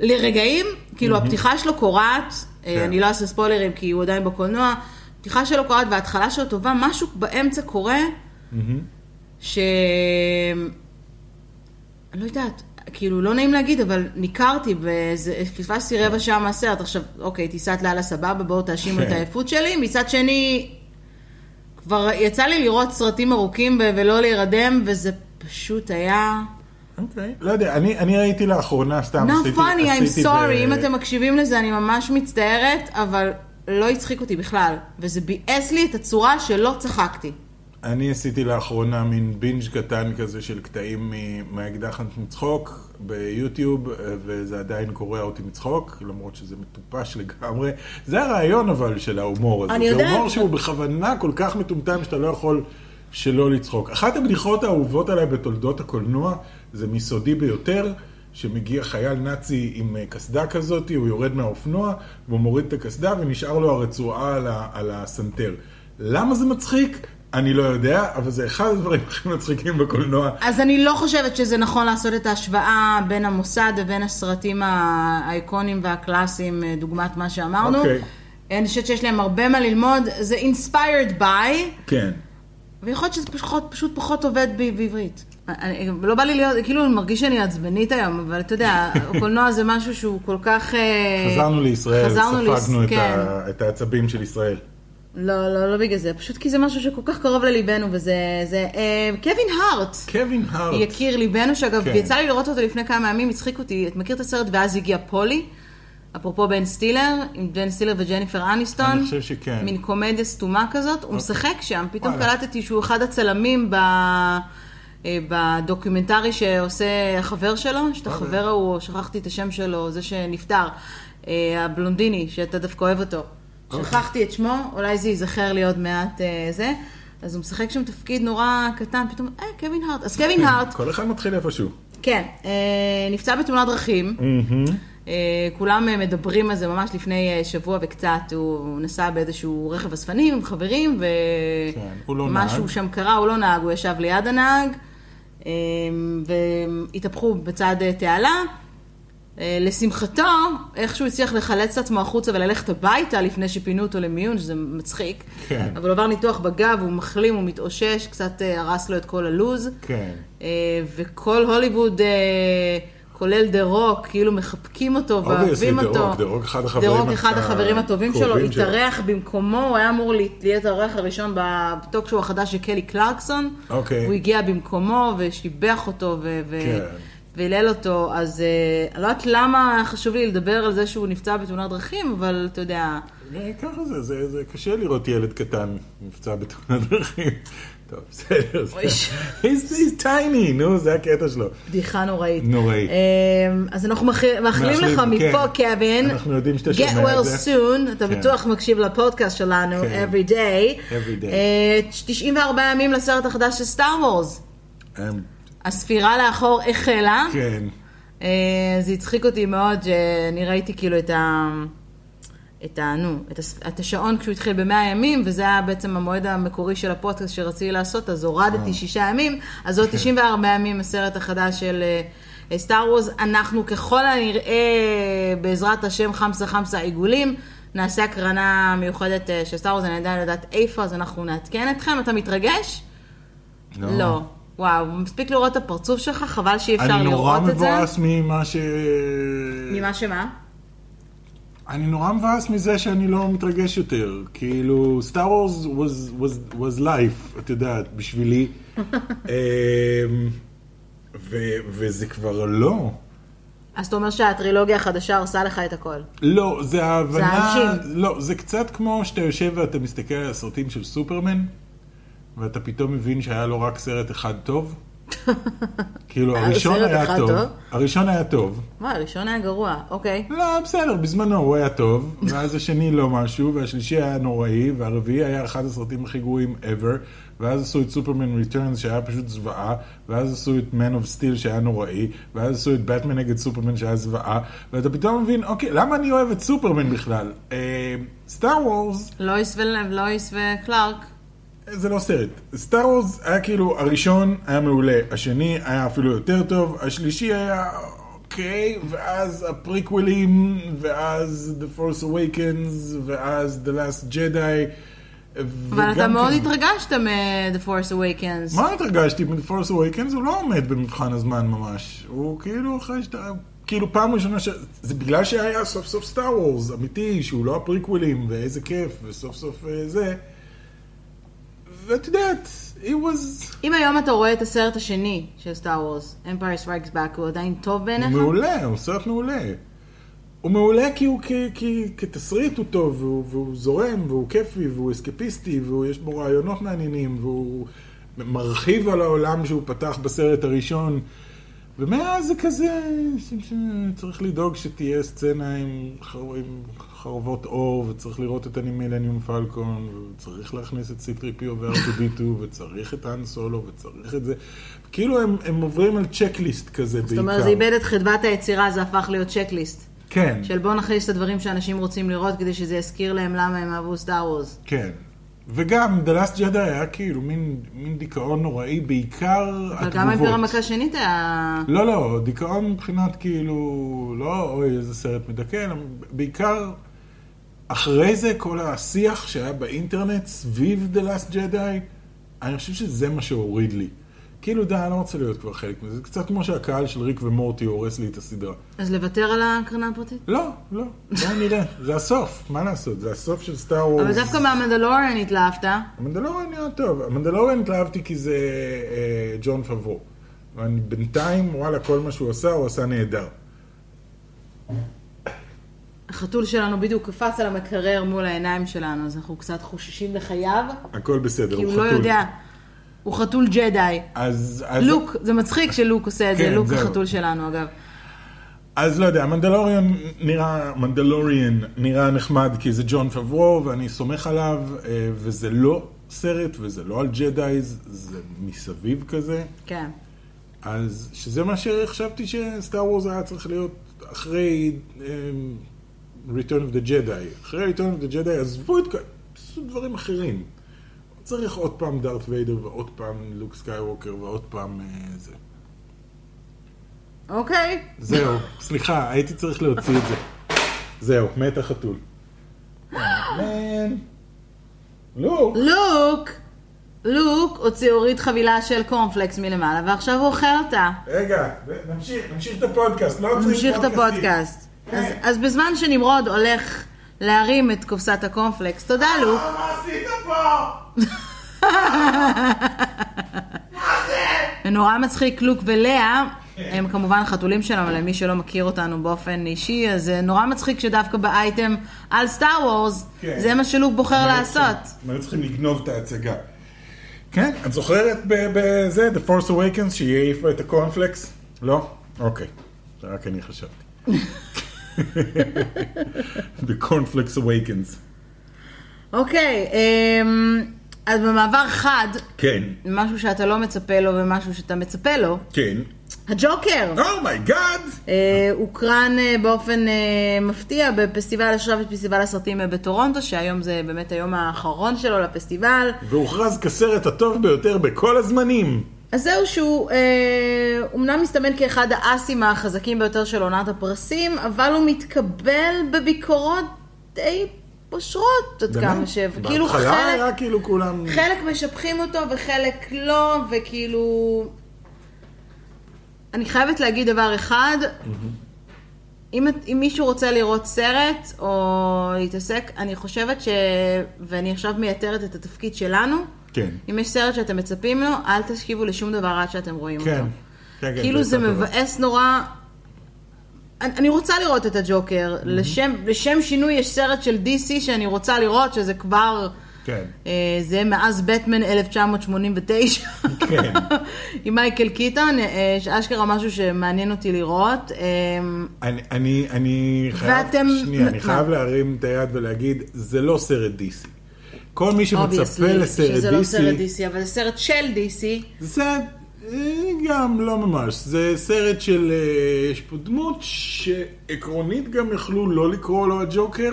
A: לרגעים, כאילו הפתיחה שלו קורעת,
B: כן.
A: אה, אני לא אעשה ספוילרים כי הוא עדיין בקולנוע, הפתיחה שלו קורעת וההתחלה שלו טובה, משהו באמצע קורה, ש... אני לא יודעת, כאילו לא נעים להגיד, אבל ניכרתי, באיזה- פספסתי רבע שעה מהסרט, עכשיו, אוקיי, טיסת לילה סבבה, בואו תאשימו
B: כן.
A: את העייפות שלי, מצד שני, כבר יצא לי לראות סרטים ארוכים ב- ולא להירדם, וזה פשוט היה...
B: אוקיי. לא יודע, אני אני ראיתי לאחרונה, סתם
A: Not
B: עשיתי...
A: funny,
B: עשיתי
A: I'm
B: ב-
A: sorry, אם אתם מקשיבים לזה, אני ממש מצטערת, אבל לא הצחיק אותי בכלל. וזה ביאס לי את הצורה שלא צחקתי.
B: אני עשיתי לאחרונה מין בינג' קטן כזה של קטעים מ- מהאקדח מצחוק ביוטיוב, אה, וזה עדיין קורע אותי מצחוק, למרות שזה מטופש לגמרי. זה הרעיון אבל של ההומור הזה.
A: אני
B: זה
A: יודעת.
B: הומור שהוא בכוונה כל כך מטומטם שאתה לא יכול שלא לצחוק. אחת הבדיחות האהובות עליי בתולדות הקולנוע, זה מסודי ביותר. שמגיע חייל נאצי עם אה, קסדה כזאת, הוא יורד מהאופנוע, והוא מוריד את הקסדה ונשאר לו הרצועה על, ה, על הסנטר. למה זה מצחיק? אני לא יודע, אבל זה אחד הדברים הכי מצחיקים בקולנוע.
A: אז אני לא חושבת שזה נכון לעשות את ההשוואה בין המוסד ובין הסרטים האייקונים והקלאסיים, אה, דוגמת מה שאמרנו.
B: אוקיי.
A: אני חושבת שיש להם הרבה מה ללמוד, זה inspired by.
B: כן.
A: ויכול להיות שזה פשוט, פשוט פחות עובד ב- בעברית. אני, לא בא לי להיות, כאילו, אני מרגיש שאני עצבנית היום, אבל אתה יודע, קולנוע זה משהו שהוא כל כך... אה,
B: חזרנו לישראל,
A: חזרנו ליס-
B: ספגנו את,
A: כן.
B: ה, את העצבים של ישראל.
A: לא, לא, לא בגלל זה, פשוט כי זה משהו שכל כך קרוב לליבנו, וזה... זה, אה, קווין הארט,
B: קווין הארט.
A: יקיר ליבנו, שאגב,
B: כן.
A: יצא לי לראות אותו לפני כמה ימים, הצחיק אותי, את מכיר את הסרט ואז הגיע פולי? אפרופו בן סטילר, עם בן סטילר וג'ניפר אניסטון.
B: אני חושב שכן. אוקיי.
A: מין קומדיה סתומה כזאת, הוא משחק שם, פתאום
B: וואלה.
A: קלטתי שהוא אחד הצלמים ב... אה, בדוקומנטרי שעושה החבר שלו, שאת
B: וואלה.
A: החבר ההוא, שכחתי את השם שלו, זה שנפטר, אה, הבלונדיני, שאתה דווקא אוהב אותו.
B: אוקיי.
A: שכחתי את שמו, אולי זה ייזכר לי עוד מעט אה, זה. אז הוא משחק שם תפקיד נורא קטן, פתאום, אה, קווין הארט. אז קווין הארט,
B: כל אחד מתחיל איפשהו.
A: כן, אה, נפצע בתאונת דרכים. אה, כולם אה, מדברים על זה ממש לפני אה, שבוע וקצת, הוא נסע באיזשהו רכב אספנים עם חברים,
B: כן, הוא לא
A: ומשהו
B: נהג.
A: שם קרה, הוא לא נהג, הוא ישב ליד הנהג, אה, והתהפכו בצד אה, תעלה. אה, לשמחתו, איכשהו הצליח לחלץ את עצמו החוצה וללכת הביתה לפני שפינו אותו למיון, שזה מצחיק.
B: כן.
A: אבל הוא עבר ניתוח בגב, הוא מחלים, הוא מתאושש, קצת אה, הרס לו את כל הלוז.
B: כן.
A: אה, וכל הוליווד, אה, כולל דה רוק, כאילו מחבקים אותו
B: Obviously,
A: ואוהבים
B: The
A: אותו.
B: Rock, The Rock אחד החברים
A: The Rock, אחד
B: הת-
A: החברים הטובים שלו,
B: הקרובים שלו.
A: התארח במקומו, הוא היה אמור לה- להיות האורח הראשון בטוק שהוא החדש של קלי קלרקסון.
B: אוקיי.
A: הוא הגיע במקומו ושיבח אותו ו- ו-
B: כן.
A: והילל אותו, אז אה, אני לא יודעת למה חשוב לי לדבר על זה שהוא נפצע בתאונת דרכים, אבל אתה יודע,
B: אה, ככה זה, זה, זה קשה לראות ילד קטן נפצע בתאונת דרכים. טוב, בסדר. זה-
A: אוי, ש-
B: He's he's tiny, נו, זה הקטע שלו.
A: בדיחה נוראית.
B: נוראית.
A: אמ, אז אנחנו מאחל- מאחלים לך
B: מאחלים,
A: מפה,
B: כן.
A: קווין.
B: אנחנו יודעים שאתה שומע
A: Get well
B: את זה.
A: soon, אתה
B: כן.
A: בטוח מקשיב לפודקאסט שלנו,
B: כן.
A: every day.
B: Every day.
A: אה, 94 ימים לסרט החדש של סטאר וורס.
B: אה,
A: הספירה לאחור החלה.
B: כן.
A: אה, זה הצחיק אותי מאוד, שאני ראיתי כאילו את ה... את, ה, נו, את, הס, את השעון כשהוא התחיל במאה ימים, וזה היה בעצם המועד המקורי של הפודקאסט שרציתי לעשות, אז
B: אה.
A: הורדתי שישה ימים, אז עוד 94 ימים הסרט החדש של אה, סטאר וורז. אנחנו ככל הנראה, בעזרת השם חמסה חמסה עיגולים, נעשה הקרנה מיוחדת אה, של סטאר וורז, אני עדיין לא יודעת איפה, אז אנחנו נעדכן אתכם. אתה מתרגש? לא. וואו, מספיק לראות את הפרצוף שלך, חבל שאי אפשר
B: אני נורא
A: לראות את זה.
B: מבואס ממה ש...
A: ממה שמה?
B: אני נורא מבאס מזה שאני לא מתרגש יותר. כאילו, סטאר וורס was, was, was life, את יודעת, בשבילי. אמ, ו, וזה כבר לא.
A: אז אתה אומר שהטרילוגיה החדשה הרסה לך את הכל.
B: לא, זה ההבנה...
A: זה האנשים.
B: לא, זה קצת כמו שאתה יושב ואתה מסתכל על הסרטים של סופרמן, ואתה פתאום מבין שהיה לו רק סרט אחד טוב. כאילו,
A: היה לו
B: הראשון
A: סרט
B: היה
A: אחד
B: טוב.
A: טוב?
B: הראשון היה טוב.
A: וואי, הראשון היה גרוע, אוקיי.
B: לא, בסדר, בזמנו הוא היה טוב, ואז השני לא משהו, והשלישי היה נוראי, והרביעי היה אחד הסרטים הכי גרועים ever, ואז עשו את סופרמן ריטרנס שהיה פשוט זוועה, ואז עשו את Man of Steel שהיה נוראי, ואז עשו את בטמן נגד סופרמן שהיה זוועה, ואתה פתאום מבין, אוקיי, למה אני אוהב את סופרמן בכלל? אה, סטאר וורס
A: לואיס ולב, לואיס וקלארק.
B: זה לא סרט. סטאר וורס היה כאילו, הראשון היה מעולה, השני היה אפילו יותר טוב, השלישי היה אוקיי, ואז הפריקוולים, ואז The Force Awakens, ואז The Last Jedi.
A: אבל
B: וגם
A: אתה מאוד
B: כן-
A: התרגשת מ-The Force Awakens.
B: מה התרגשתי מ-The Force Awakens? הוא לא עומד במבחן הזמן ממש. הוא כאילו אחרי שאתה... כאילו פעם ראשונה ש... זה בגלל שהיה סוף סוף סטאר וורס, אמיתי, שהוא לא הפריקוולים, ואיזה כיף, וסוף סוף אה, זה. ואת יודעת, it was...
A: אם היום אתה רואה את הסרט השני של סטאר וורס, Empire Strikes Back, הוא עדיין טוב בעיניך?
B: הוא מעולה, הוא סרט מעולה. הוא מעולה כי הוא כ- כי- כתסריט הוא טוב, והוא, והוא זורם, והוא כיפי, והוא אסקפיסטי, ויש בו רעיונות מעניינים, והוא מרחיב על העולם שהוא פתח בסרט הראשון. ומאז זה כזה, ש- ש- צריך לדאוג שתהיה סצנה עם, חר... עם חרבות אור, וצריך לראות את הנימילניום פלקון, וצריך להכניס את C3PO ו-R2D2, וצריך את האן סולו, וצריך את זה. כאילו הם, הם עוברים על צ'קליסט כזה בעיקר.
A: זאת אומרת, זה איבד את חדוות היצירה, זה הפך להיות צ'קליסט.
B: כן,
A: של בוא נכניס את הדברים שאנשים רוצים לראות כדי שזה יזכיר להם למה הם אהבו סטאר וורס.
B: כן. וגם, The Last Jedi היה כאילו מין, מין דיכאון נוראי, בעיקר
A: אבל
B: התגובות.
A: גם האימפריה המכה השנית היה...
B: לא, לא, דיכאון מבחינת כאילו, לא, אוי, איזה סרט מדכא, אלא בעיקר אחרי זה כל השיח שהיה באינטרנט סביב The Last Jedi, אני חושב שזה מה שהוריד לי. כאילו, די, אני לא רוצה להיות כבר חלק מזה. זה קצת כמו שהקהל של ריק ומורטי הורס לי את הסדרה.
A: אז לוותר על ההקרנה הפרטית?
B: לא, לא, בוא נראה. זה הסוף, מה לעשות? זה הסוף של סטאר וורס.
A: אבל דווקא מהמנדלוריאן התלהבת.
B: המנדלוריאן נראה טוב. המנדלוריאן התלהבתי כי זה אה, ג'ון פברו. ואני בינתיים, וואלה, כל מה שהוא עשה, הוא עשה נהדר.
A: החתול שלנו בדיוק קפץ על המקרר מול העיניים שלנו, אז אנחנו קצת חוששים לחייו,
B: הכל בסדר,
A: כי
B: הוא
A: הוא
B: חתול.
A: לא יודע. הוא חתול ג'די.
B: אז, אז,
A: לוק, זה מצחיק שלוק עושה את זה,
B: כן,
A: לוק
B: זהו.
A: החתול שלנו אגב.
B: אז לא יודע, מנדלוריאן נראה, מנדלוריאן נראה נחמד כי זה ג'ון פברו ואני סומך עליו, אה, וזה לא סרט וזה לא על ג'דאיז, זה מסביב כזה.
A: כן.
B: אז שזה מה שחשבתי שסטאר וורז היה צריך להיות אחרי um, Return of the Jedi. אחרי Return of the Jedi עזבו את כל... עשו דברים אחרים. צריך עוד פעם דארט ויידר ועוד פעם לוק סקייווקר ועוד פעם אה, זה.
A: אוקיי.
B: זהו, סליחה, הייתי צריך להוציא את זה. זהו, מת החתול. אה, מן. לוק.
A: לוק, לוק הוציא, הוריד חבילה של קורנפלקס מלמעלה, ועכשיו הוא אוכל אותה.
B: רגע, נמשיך, נמשיך את הפודקאסט, לא עוצרים
A: נמשיך את
B: פודקאסטים.
A: הפודקאסט.
B: כן.
A: אז- אז בזמן שנמרוד הולך להרים את קופסת הקורנפלקס, תודה לוק.
B: אה, מה עשית פה?
A: ונורא מצחיק לוק ולאה, הם כמובן חתולים שלנו, למי שלא מכיר אותנו באופן אישי, אז אה, נורא מצחיק שדווקא באייטם על סטאר וורס,
B: כן.
A: זה מה שלוק בוחר לעשות.
B: הם היו צריכים לגנוב את ההצגה. כן, את זוכרת ב- בזה, The Force Awakens, שהיא העיפה את הקורנפלקס? לא? אוקיי. זה רק אני חשבתי. The Cornflakes Awakens.
A: אוקיי, אמ, אז במעבר חד,
B: כן,
A: משהו שאתה לא מצפה לו ומשהו שאתה מצפה לו,
B: כן. Oh
A: הג'וקר
B: אומייגאד!
A: אה, הוקרן אה, באופן אה, מפתיע בפסטיבל אשרה ופסטיבל הסרטים אה, בטורונטו, שהיום זה באמת היום האחרון שלו לפסטיבל.
B: והוכרז כסרט הטוב ביותר בכל הזמנים.
A: אז זהו שהוא אה, אומנם מסתמן כאחד האסים החזקים ביותר של עונת הפרסים, אבל הוא מתקבל בביקורות די פושרות עד כמה ש... כאילו
B: בהתחלה
A: חלק,
B: היה כאילו כולם...
A: חלק משבחים אותו וחלק לא, וכאילו... אני חייבת להגיד דבר אחד, אם, את- אם מישהו רוצה לראות סרט או להתעסק, אני חושבת ש... ואני עכשיו מייתרת את התפקיד שלנו.
B: כן.
A: אם יש סרט שאתם מצפים לו, אל תקשיבו לשום דבר עד שאתם רואים
B: כן.
A: אותו.
B: כן, כן,
A: כאילו זה
B: הייתה טובה.
A: מבאס נורא. אני אני רוצה לראות את הג'וקר.
B: Mm-hmm.
A: לשם, לשם שינוי יש סרט של DC שאני רוצה לראות, שזה כבר...
B: כן.
A: אה, זה מאז בטמן 1989.
B: כן.
A: עם מייקל קיטון, אה, שאשכרה משהו שמעניין אותי לראות. אה,
B: אני, אני, אני חייב,
A: ואתם-
B: שנייה, אני
A: מה?
B: חייב להרים את היד ולהגיד, זה לא סרט DC. כל מי שמצפה
A: obviously,
B: לסרט
A: שזה לא
B: DC,
A: סרט DC, אבל זה סרט של DC.
B: זה סרט אה, גם לא ממש, זה סרט של, אה, יש פה דמות שעקרונית גם יכלו לא לקרוא לו הג'וקר,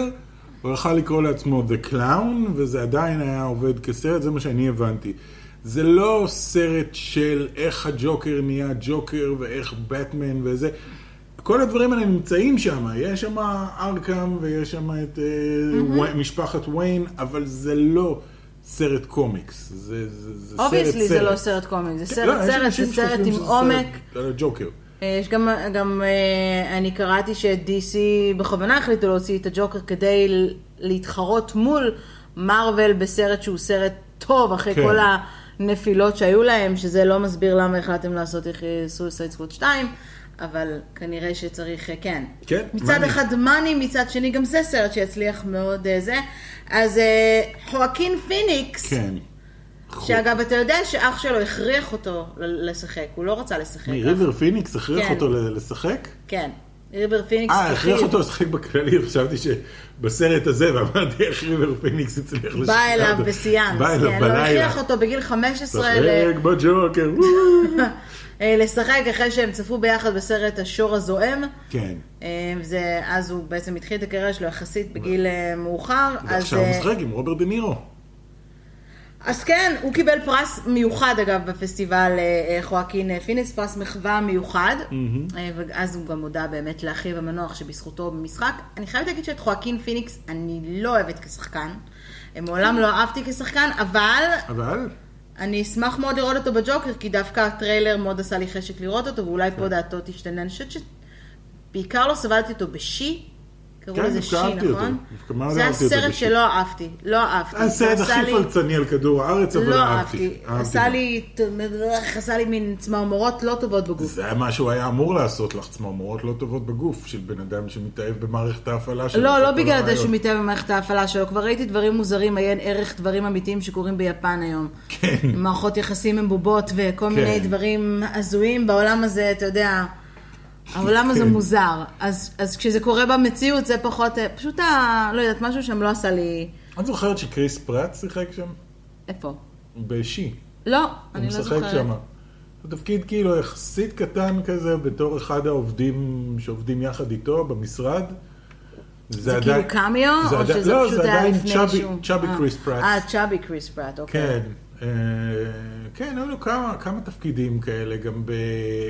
B: הוא יכל לקרוא לעצמו The Clown, וזה עדיין היה עובד כסרט, זה מה שאני הבנתי. זה לא סרט של איך הג'וקר נהיה ג'וקר ואיך בטמן וזה. כל הדברים האלה נמצאים שם, יש שם ארקאם ויש שם את mm-hmm. משפחת ויין, אבל זה לא סרט קומיקס, זה, זה, זה סרט סרט.
A: אובייסלי זה לא סרט קומי, זה
B: לא,
A: סרט
B: יש
A: סרט,
B: אנשים
A: זה סרט
B: שחושבים
A: עם
B: שזה
A: עומק.
B: סרט על הג'וקר.
A: אה, יש גם, גם אה, אני קראתי ש-DC בכוונה החליטו להוציא את הג'וקר כדי ל- להתחרות מול מארוול בסרט שהוא סרט טוב, אחרי
B: כן.
A: כל הנפילות שהיו להם, שזה לא מסביר למה החלטתם לעשות איך אה, סויסייד סקווד 2, אבל כנראה שצריך, אה, כן.
B: כן,
A: מצד
B: מאני.
A: אחד מאני, מצד שני גם זה סרט שיצליח מאוד אה, זה. אז אה, חואקין פיניקס,
B: כן.
A: שאגב, אתה יודע שאח שלו הכריח אותו ל- לשחק, הוא לא רצה לשחק.
B: מי, ריבר פיניקס הכריח
A: כן.
B: אותו ל- לשחק?
A: כן. ריבר פיניקס.
B: אה, הכריח
A: התחיל,
B: אותו לשחק בכללי, חשבתי שבסרט הזה, ואמרתי איך ריבר פיניקס הצליח לשחק.
A: בא אליו בסיאנס.
B: בא אליו
A: כן, לא
B: בלילה.
A: הכריח אותו בגיל 15 ל-
B: שחק בג'וקר. וואו.
A: אה, לשחק אחרי שהם צפו ביחד בסרט השור הזועם.
B: כן.
A: אה, זה, אז הוא בעצם התחיל את הקריירה שלו יחסית בגיל אה, מאוחר. אז,
B: ועכשיו הוא
A: אה,
B: משחק עם רוברט דה נירו.
A: אז כן, הוא קיבל פרס מיוחד אגב בפסטיבל אה, אה, חואקין אה, פיניקס, פרס מחווה מיוחד. אה, ואז הוא גם הודה באמת לאחיו המנוח שבזכותו במשחק. אני חייבת להגיד שאת חואקין פיניקס אני לא אוהבת כשחקן. אה, מעולם לא אהבתי כשחקן, אבל
B: אבל,
A: אני אשמח מאוד לראות אותו בג'וקר, כי דווקא הטריילר מאוד עשה לי חשק לראות אותו, ואולי
B: כן.
A: פה דעתו תשתנה. אני חושבת שבעיקר לא סבלתי אותו בשי. קראו
B: כן,
A: לזה
B: דווקא
A: שי,
B: אהבתי אותו.
A: נכון?
B: דווקא מאוד
A: זה
B: אהבתי אותו
A: הסרט
B: בשי.
A: שלא אהבתי. לא אהבתי. זה
B: הסרט
A: עשה
B: הכי
A: לי-
B: פלצני על כדור הארץ, אבל
A: לא
B: אהבתי.
A: אהבתי.
B: אהבתי.
A: עשה לי, עשה לי מין צמרמורות לא טובות בגוף.
B: זה היה מה שהוא היה אמור לעשות לך, צמרמורות לא טובות בגוף, של בן אדם שמתאהב במערכת ההפעלה שלו.
A: לא,
B: זה
A: לא
B: כל
A: בגלל זה
B: הרעיון.
A: שהוא מתאהב במערכת ההפעלה שלו, כבר ראיתי דברים מוזרים, עיין ערך דברים אמיתיים שקורים ביפן היום.
B: כן.
A: מערכות יחסים עם בובות וכל
B: כן.
A: מיני דברים הזויים בעולם הזה, אתה יודע, העולם הזה
B: כן.
A: מוזר. אז אז כשזה קורה במציאות זה פחות, אה, פשוט, ה- לא יודעת, משהו שם לא עשה לי...
B: את זוכרת שקריס פרט שיחק שם?
A: איפה?
B: בשי.
A: לא,
B: הוא
A: אני לא
B: משחק
A: זוכרת.
B: שם. זה תפקיד כאילו יחסית קטן כזה, בתור אחד העובדים שעובדים יחד איתו במשרד.
A: זה כאילו קמיו,
B: זה
A: או
B: עדיין-
A: שזה
B: לא,
A: פשוט
B: זה
A: היה
B: עדיין
A: לפני
B: צ'אבי-
A: שהוא...
B: צ'אבי
A: אה.
B: קריס פרט.
A: אה, צ'אבי קריס פרט, אוקיי.
B: כן. אה, כן, היו לו כמה, כמה תפקידים כאלה, גם ב...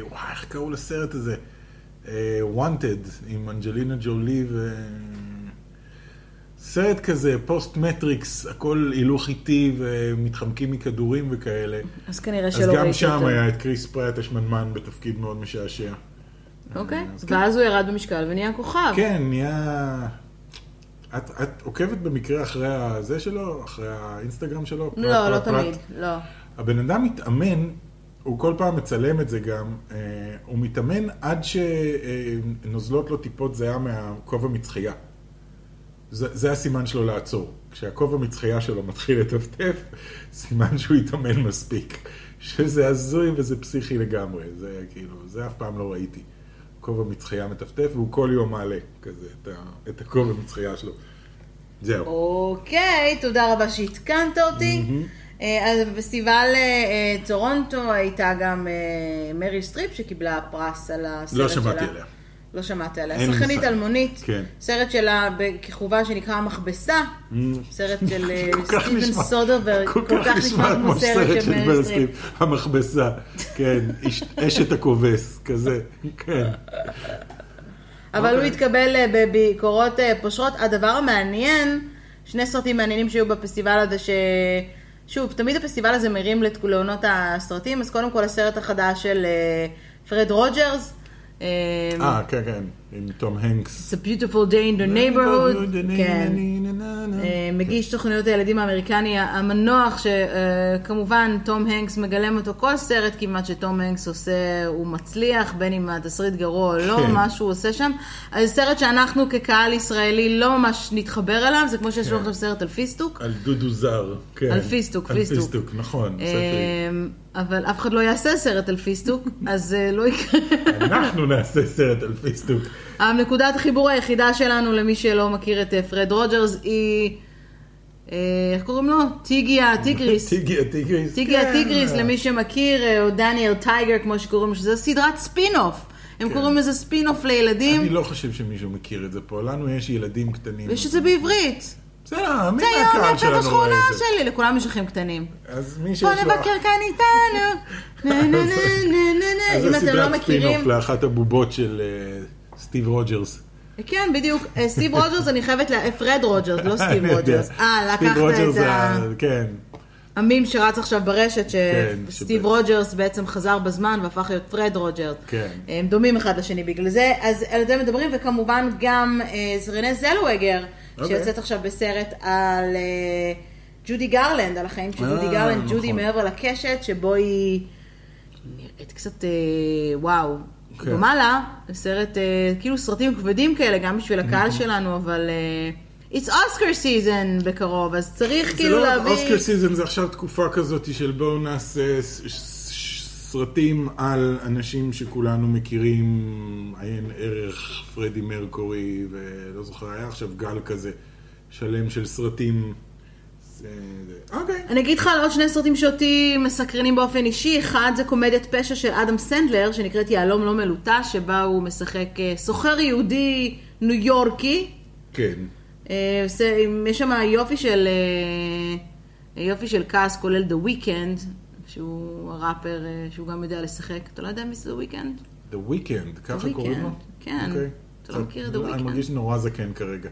B: וואי, איך קראו לסרט הזה? אה, Wanted, עם אנג'לינה ג'ולי ו... סרט כזה, פוסט מטריקס, הכל הילוך איטי ומתחמקים מכדורים וכאלה.
A: אז כנראה
B: אז
A: שלא ראיתי אותו.
B: גם שם היה את קריס פרט השמנמן בתפקיד מאוד משעשע.
A: אוקיי,
B: אז כן.
A: ואז הוא ירד במשקל ונהיה כוכב.
B: כן, נהיה... את, את עוקבת במקרה אחרי הזה שלו? אחרי האינסטגרם שלו? פרט,
A: לא, לא
B: פרט, פרט?
A: תמיד, לא.
B: הבן אדם מתאמן, הוא כל פעם מצלם את זה גם, אה, הוא מתאמן עד שנוזלות לו טיפות זיעה מהכובע מצחייה. זה, זה הסימן שלו לעצור. כשהכובע מצחייה שלו מתחיל לטפטף, סימן שהוא התאמן מספיק. שזה הזוי וזה פסיכי לגמרי, זה כאילו, זה אף פעם לא ראיתי. כובע מצחייה מטפטף, והוא כל יום מעלה כזה את, ה, את הכובע מצחייה שלו. זהו.
A: אוקיי, תודה רבה שעדכנת אותי. Mm-hmm. אה, אז בפסטיבל אה, אה, טורונטו הייתה גם אה, מריל סטריפ שקיבלה פרס על הסרט שלה.
B: לא שמעתי עליה.
A: לא שמעת עליה.
B: אין לי
A: שחקנית
B: מושג.
A: אלמונית.
B: כן.
A: סרט שלה ב- ככיכובה שנקרא המכבסה. סרט של אה,
B: כל כך
A: סטיבן
B: נשמע-
A: סודרברג.
B: כל כך נשמע כמו סרט של
A: מריל
B: מריל
A: סטריפ.
B: סטריפ, המכבסה, כן, איש- אשת הכובס, כזה, כן.
A: אבל הוא
B: אוקיי.
A: התקבל אה, בביקורות אה, פושרות. הדבר המעניין, שני סרטים מעניינים שהיו בפסטיבל הזה, ש... שוב, תמיד הפסטיבל הזה מרים לתק- לעונות הסרטים, אז קודם כל הסרט החדש של אה, פרד רוג'רס. אה,
B: אה, כן, כן, עם תום הנקס.
A: It's a beautiful day in the neighborhood. כן.
B: כן.
A: אה, מגיש תוכניות הילדים האמריקני המנוח, שכמובן תום הנקס מגלם אותו כל סרט כמעט שתום הנקס עושה, הוא מצליח, בין אם התסריט גרוע או לא,
B: כן.
A: מה שהוא עושה שם. אז סרט שאנחנו כקהל ישראלי לא ממש נתחבר אליו, זה כמו שיש לנו
B: כן.
A: עכשיו סרט על פיסטוק.
B: על דודו זר, כן.
A: על פיסטוק,
B: על
A: פיסטוק.
B: פיסטוק, נכון, ספרי.
A: אה, אבל אף אחד לא יעשה סרט על פיסטוק, אז אה, לא יקרה.
B: אנחנו נעשה סרט על פיסטוק.
A: הנקודת החיבור היחידה שלנו, למי שלא מכיר את אה, פרד רוג'רס, היא... אה, איך קוראים לו? טיגיה, טיגריס.
B: טיגי הטיגריס.
A: טיגי
B: כן.
A: הטיגריס, למי שמכיר, אה, או דניאל טייגר, כמו שקוראים לו, שזה סדרת ספין-אוף. הם
B: כן.
A: קוראים לזה ספין-אוף לילדים,
B: אני לא חושב שמישהו מכיר את זה פה, לנו יש ילדים קטנים.
A: ויש את זה בעברית.
B: בסדר, מי
A: זה היום
B: מהקהל
A: מהפה
B: לא שלנו רואה
A: בשכונה
B: את זה?
A: שלי, לכולם יש אחים קטנים.
B: אז מי שיש
A: בוא
B: לו...
A: נבקר כאן איתנו. נה נה נה נה נה נה.
B: אז
A: אם
B: זה
A: אתם לא
B: סדרת
A: מכירים...
B: ספינוף לאחת הבובות של אה, סטיב רוג'רס.
A: כן, בדיוק. אה, סטיב רוג'רס, אני חייבת ל... אה, פרד רוג'רס, לא סטיב
B: אני יודע.
A: רוג'רס. אה,
B: סטיב
A: לקחת
B: רוג'רס
A: את
B: זה
A: ה...
B: כן.
A: המים שרץ עכשיו ברשת,
B: כן,
A: שסטיב
B: שבא-
A: רוג'רס בעצם חזר בזמן והפך להיות פרד רוג'רס.
B: כן.
A: הם דומים אחד לשני בגלל זה, אז על זה מדברים, וכמובן גם אה, רנה זלווגר,
B: אוקיי.
A: שיוצאת עכשיו בסרט על אה, ג'ודי גרלנד, על החיים של
B: אה,
A: ג'ודי גרלנד, ג'ודי
B: נכון.
A: מעבר לקשת, שבו היא נראית קצת, אה, וואו,
B: כן.
A: דומה לה, סרט, אה, כאילו סרטים כבדים כאלה, גם בשביל הקהל
B: Mhm.
A: שלנו, אבל... אה, It's Oscar season בקרוב, אז צריך
B: זה
A: כאילו
B: לא רק
A: להביא...
B: אוסקר סיזם, זה עכשיו תקופה כזאת של בואו נעשה ס- ס- ס- סרטים על אנשים שכולנו מכירים, עיין ערך פרדי מרקורי, ולא זוכר, היה עכשיו גל כזה שלם של סרטים. זה- זה- אוקיי.
A: אני אגיד לך על עוד שני סרטים שאותי מסקרנים באופן אישי. אחד זה קומדיית פשע של אדם סנדלר, שנקראת יהלום לא מלוטש, שבה הוא משחק אה, סוחר יהודי ניו יורקי.
B: כן.
A: אה, עושה- עם- יש שם יופי של אה, יופי של כעס, כולל The Weeknd, שהוא הראפר, אה, שהוא גם יודע לשחק. אתה לא יודע מי זה The Weeknd?
B: The Weeknd, ככה
A: The
B: קוראים לו?
A: Weeknd, כן.
B: אוקיי.
A: אתה לא מכיר The
B: אני
A: Weeknd.
B: מרגיש נורא זקן כרגע.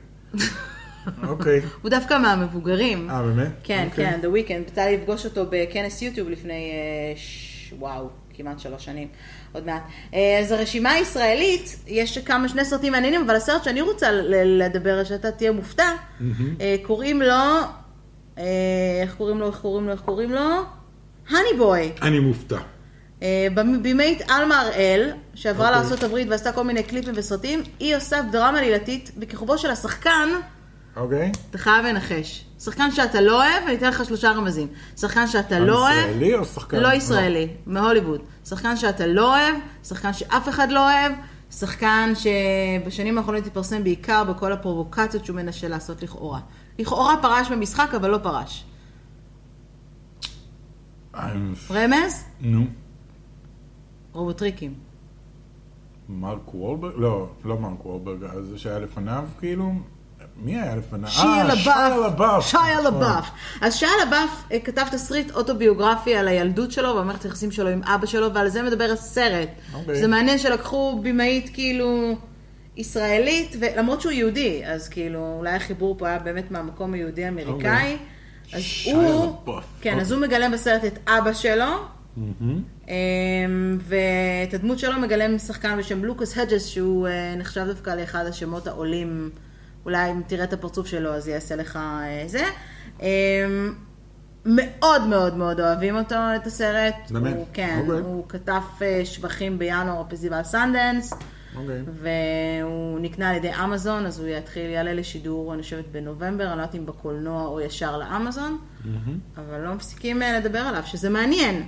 B: אוקיי.
A: הוא דווקא מהמבוגרים.
B: אה, באמת?
A: כן,
B: אוקיי.
A: כן, The Weeknd. יצא לי לפגוש אותו בכנס יוטיוב לפני, אה, ש- וואו, כמעט שלוש שנים, עוד מעט. אה, אז הרשימה הישראלית, יש כמה, שני סרטים מעניינים, אבל הסרט שאני רוצה ל- לדבר, שאתה תהיה מופתע, אה, קוראים לו, אה, איך קוראים לו, איך קוראים לו, איך קוראים לו? הני בוי.
B: אני מופתע.
A: אה, במ- בימאית עלמה הראל, שעברה
B: אוקיי.
A: לארה"ב ועשתה כל מיני קליפים וסרטים, היא עושה דרמה עלילתית בכיכובו של השחקן.
B: אוקיי.
A: אתה חייב לנחש. שחקן שאתה לא אוהב, אני אתן לך שלושה רמזים. שחקן שאתה לא אוהב,
B: ישראלי או שחקן?
A: לא ישראלי, מהוליווד. שחקן שאתה לא אוהב, שחקן שאף אחד לא אוהב, שחקן שבשנים האחרונות התפרסם בעיקר בכל הפרובוקציות שהוא מנסה לעשות לכאורה. לכאורה פרש במשחק, אבל לא פרש.
B: אה,
A: רמז?
B: נו.
A: רובוטריקים.
B: מרק וולברג? לא, לא מרק וולברג, אז זה שהיה לפניו כאילו? מי היה לפניו?
A: שיה
B: אה, נכון.
A: לבאף.
B: שיה
A: שיה
B: לבאף.
A: לבאף. אז שיה לבאף אה, כתב תסריט אוטוביוגרפי על הילדות שלו והמערכת היחסים שלו עם אבא שלו, ועל זה מדבר הסרט.
B: אוקיי.
A: זה מעניין שלקחו במאית כאילו ישראלית, ולמרות שהוא יהודי, אז כאילו אולי החיבור פה היה באמת מהמקום היהודי-אמריקאי.
B: אוקיי.
A: אז
B: שיה
A: הוא,
B: לבאף.
A: כן, אז הוא מגלם בסרט את אבא שלו, אמ, ואת הדמות שלו מגלם שחקן בשם לוקאס הג'ס, שהוא אה, נחשב דווקא לאחד השמות העולים, אולי אם תראה את הפרצוף שלו אז יעשה לך אה, זה. אמ, מאוד מאוד מאוד אוהבים אותו, את הסרט.
B: באמת?
A: הוא, כן,
B: אוקיי.
A: הוא כתב אה, שבחים בינואר בפסטיבל סנדנס,
B: אוקיי.
A: והוא נקנה על ידי אמזון, אז הוא יתחיל, יעלה לשידור, אני חושבת, בנובמבר, אני לא יודעת אם בקולנוע או ישר לאמזון, אבל לא מפסיקים אה, לדבר עליו, שזה מעניין.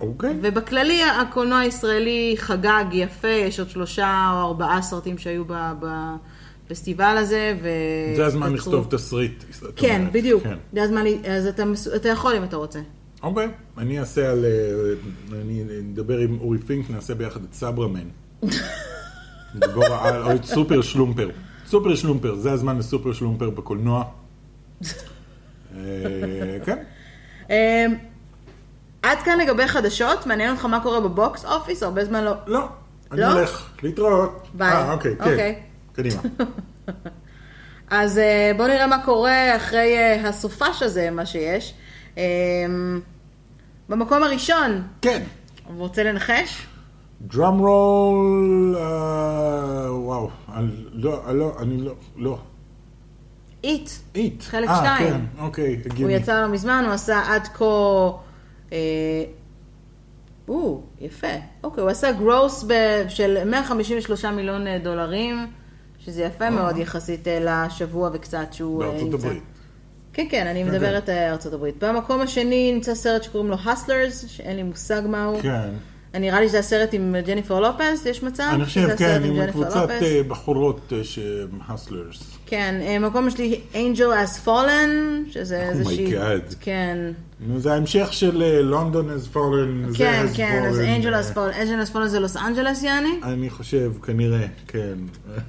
B: אוקיי.
A: ובכללי הקולנוע הישראלי חגג יפה, יש עוד שלושה או ארבעה סרטים שהיו ב- בפסטיבל הזה, ו...
B: זה הזמן
A: יצרו-
B: לכתוב תסריט. זאת
A: כן,
B: אומרת.
A: בדיוק.
B: כן.
A: זה הזמן, לי- אז אתה, מס- אתה יכול אם אתה רוצה.
B: אוקיי, אני אעשה על... אה, אני אדבר עם אורי פינק, נעשה ביחד את סברמן. דבורה על, או את סופר שלומפר. סופר שלומפר, זה הזמן לסופר שלומפר בקולנוע. אה, כן,
A: אה, עד כאן לגבי חדשות, מעניין אותך מה קורה בבוקס אופיס, הרבה זמן לא...
B: לא, אני
A: לא?
B: הולך להתראות.
A: ביי.
B: אה, אוקיי, כן.
A: אוקיי.
B: קדימה.
A: אז אה, בואו נראה מה קורה אחרי אה, הסופש הזה, מה שיש. אה, במקום הראשון,
B: כן.
A: רוצה לנחש?
B: דראם רול, אה, וואו, אני לא, אני לא, אני לא, לא.
A: איט.
B: איט.
A: חלק
B: אה,
A: שתיים.
B: כן, אוקיי,
A: הוא
B: הגיוני.
A: יצא לא מזמן, הוא עשה עד כה... אה, או, יפה. אוקיי, הוא עשה גרוס ב- של 153 מיליון אה, דולרים, שזה יפה מאוד יחסית אה, לשבוע וקצת שהוא... אה,
B: אוקיי. בארצות
A: נמצא.
B: הברית.
A: כן, כן, אני
B: כן.
A: מדברת אה, ארצות הברית. במקום השני נמצא סרט שקוראים לו הסלרס, שאין לי מושג מהו.
B: כן.
A: נראה לי שזה הסרט עם ג'ניפר לופס, יש מצב?
B: אני
A: שזה
B: חושב,
A: הסרט
B: כן, עם
A: ג'ניפר
B: קבוצת
A: לופז?
B: אה, בחורות אה, שהם הסלרס.
A: כן, אה, מקום שלי, Angel as Fallen, שזה
B: Oh my
A: איזושהי...
B: God.
A: כן.
B: נו, זה ההמשך של אה, לונדון has fallen, זה
A: כן,
B: has
A: כן, אז
B: fallen,
A: אנג'ל
B: אה,
A: אס פול, אנג'ל אס פול זה לוס אנג'לס יעני?
B: אני חושב, כנראה, כן.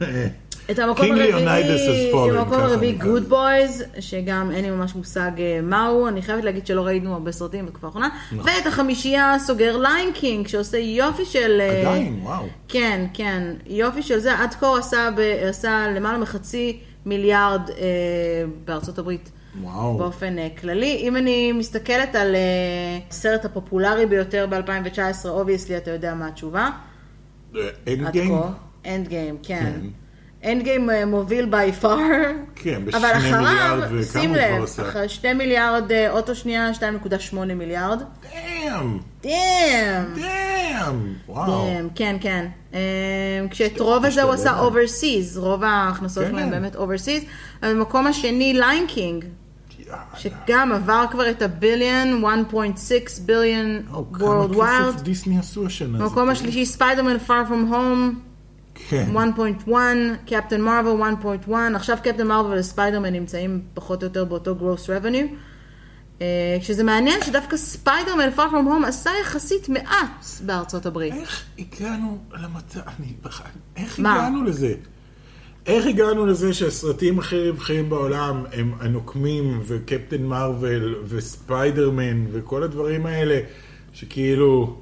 A: אה, את המקום
B: King Leonidas has
A: הרביעי,
B: fallen,
A: במקום
B: ככה
A: הרביעי
B: נקרא
A: גוד
B: לזה.
A: בויז, שגם אין לי ממש מושג אה, מהו, אני חייבת להגיד שלא ראינו הרבה סרטים בתקופה האחרונה,
B: נכון.
A: ואת החמישייה סוגר ליין קינג, שעושה יופי של... אה,
B: עדיין, וואו.
A: כן, כן, יופי של זה, עד כה עשה, ב, עשה למעלה מחצי מיליארד אה, בארצות הברית.
B: וואו.
A: באופן אה, כללי. אם אני מסתכלת על אה, הסרט הפופולרי ביותר ב-2019, אובייסלי אתה יודע מה התשובה.
B: אנד
A: עד
B: גיים?
A: כה. אנד גיים, כן. אנד גיים מוביל בי פאר.
B: כן, בשני
A: אבל אחריו,
B: מיליארד וכמה
A: שים
B: הוא כבר
A: לב,
B: עשה?
A: אחרי 2 מיליארד, אה, אוטו שנייה, 2.8 מיליארד.
B: דאם,
A: דאם!
B: דאם, וואו.
A: דאם, כן, כן. אה, כשאת רוב הזה הוא עשה
B: משתלם.
A: אוברסיז, רוב ההכנסות
B: כן,
A: שלהם
B: כן.
A: באמת אוברסיז. במקום השני, ליין קינג,
B: יאללה.
A: שגם עבר כבר את הביליון, 1.6 ביליון
B: וואו,
A: World
B: Oh, כמה
A: Wild.
B: כסף דיסני עשו השנה. זה
A: במקום
B: כאילו-
A: השלישי, ספיידרמן Far From Home,
B: כן.
A: 1.1, קפטן מרוויל 1.1, עכשיו קפטן מרוויל וספיידרמן נמצאים פחות או יותר באותו גרוס רבניו. שזה מעניין שדווקא ספיידרמן Far From Home עשה יחסית מעט בארצות הברית.
B: איך הגענו למצב, אני בכלל, איך
A: מה?
B: הגענו לזה? איך הגענו לזה שהסרטים הכי רווחיים בעולם הם הנוקמים וקפטן מרוויל וספיידרמן וכל הדברים האלה, שכאילו,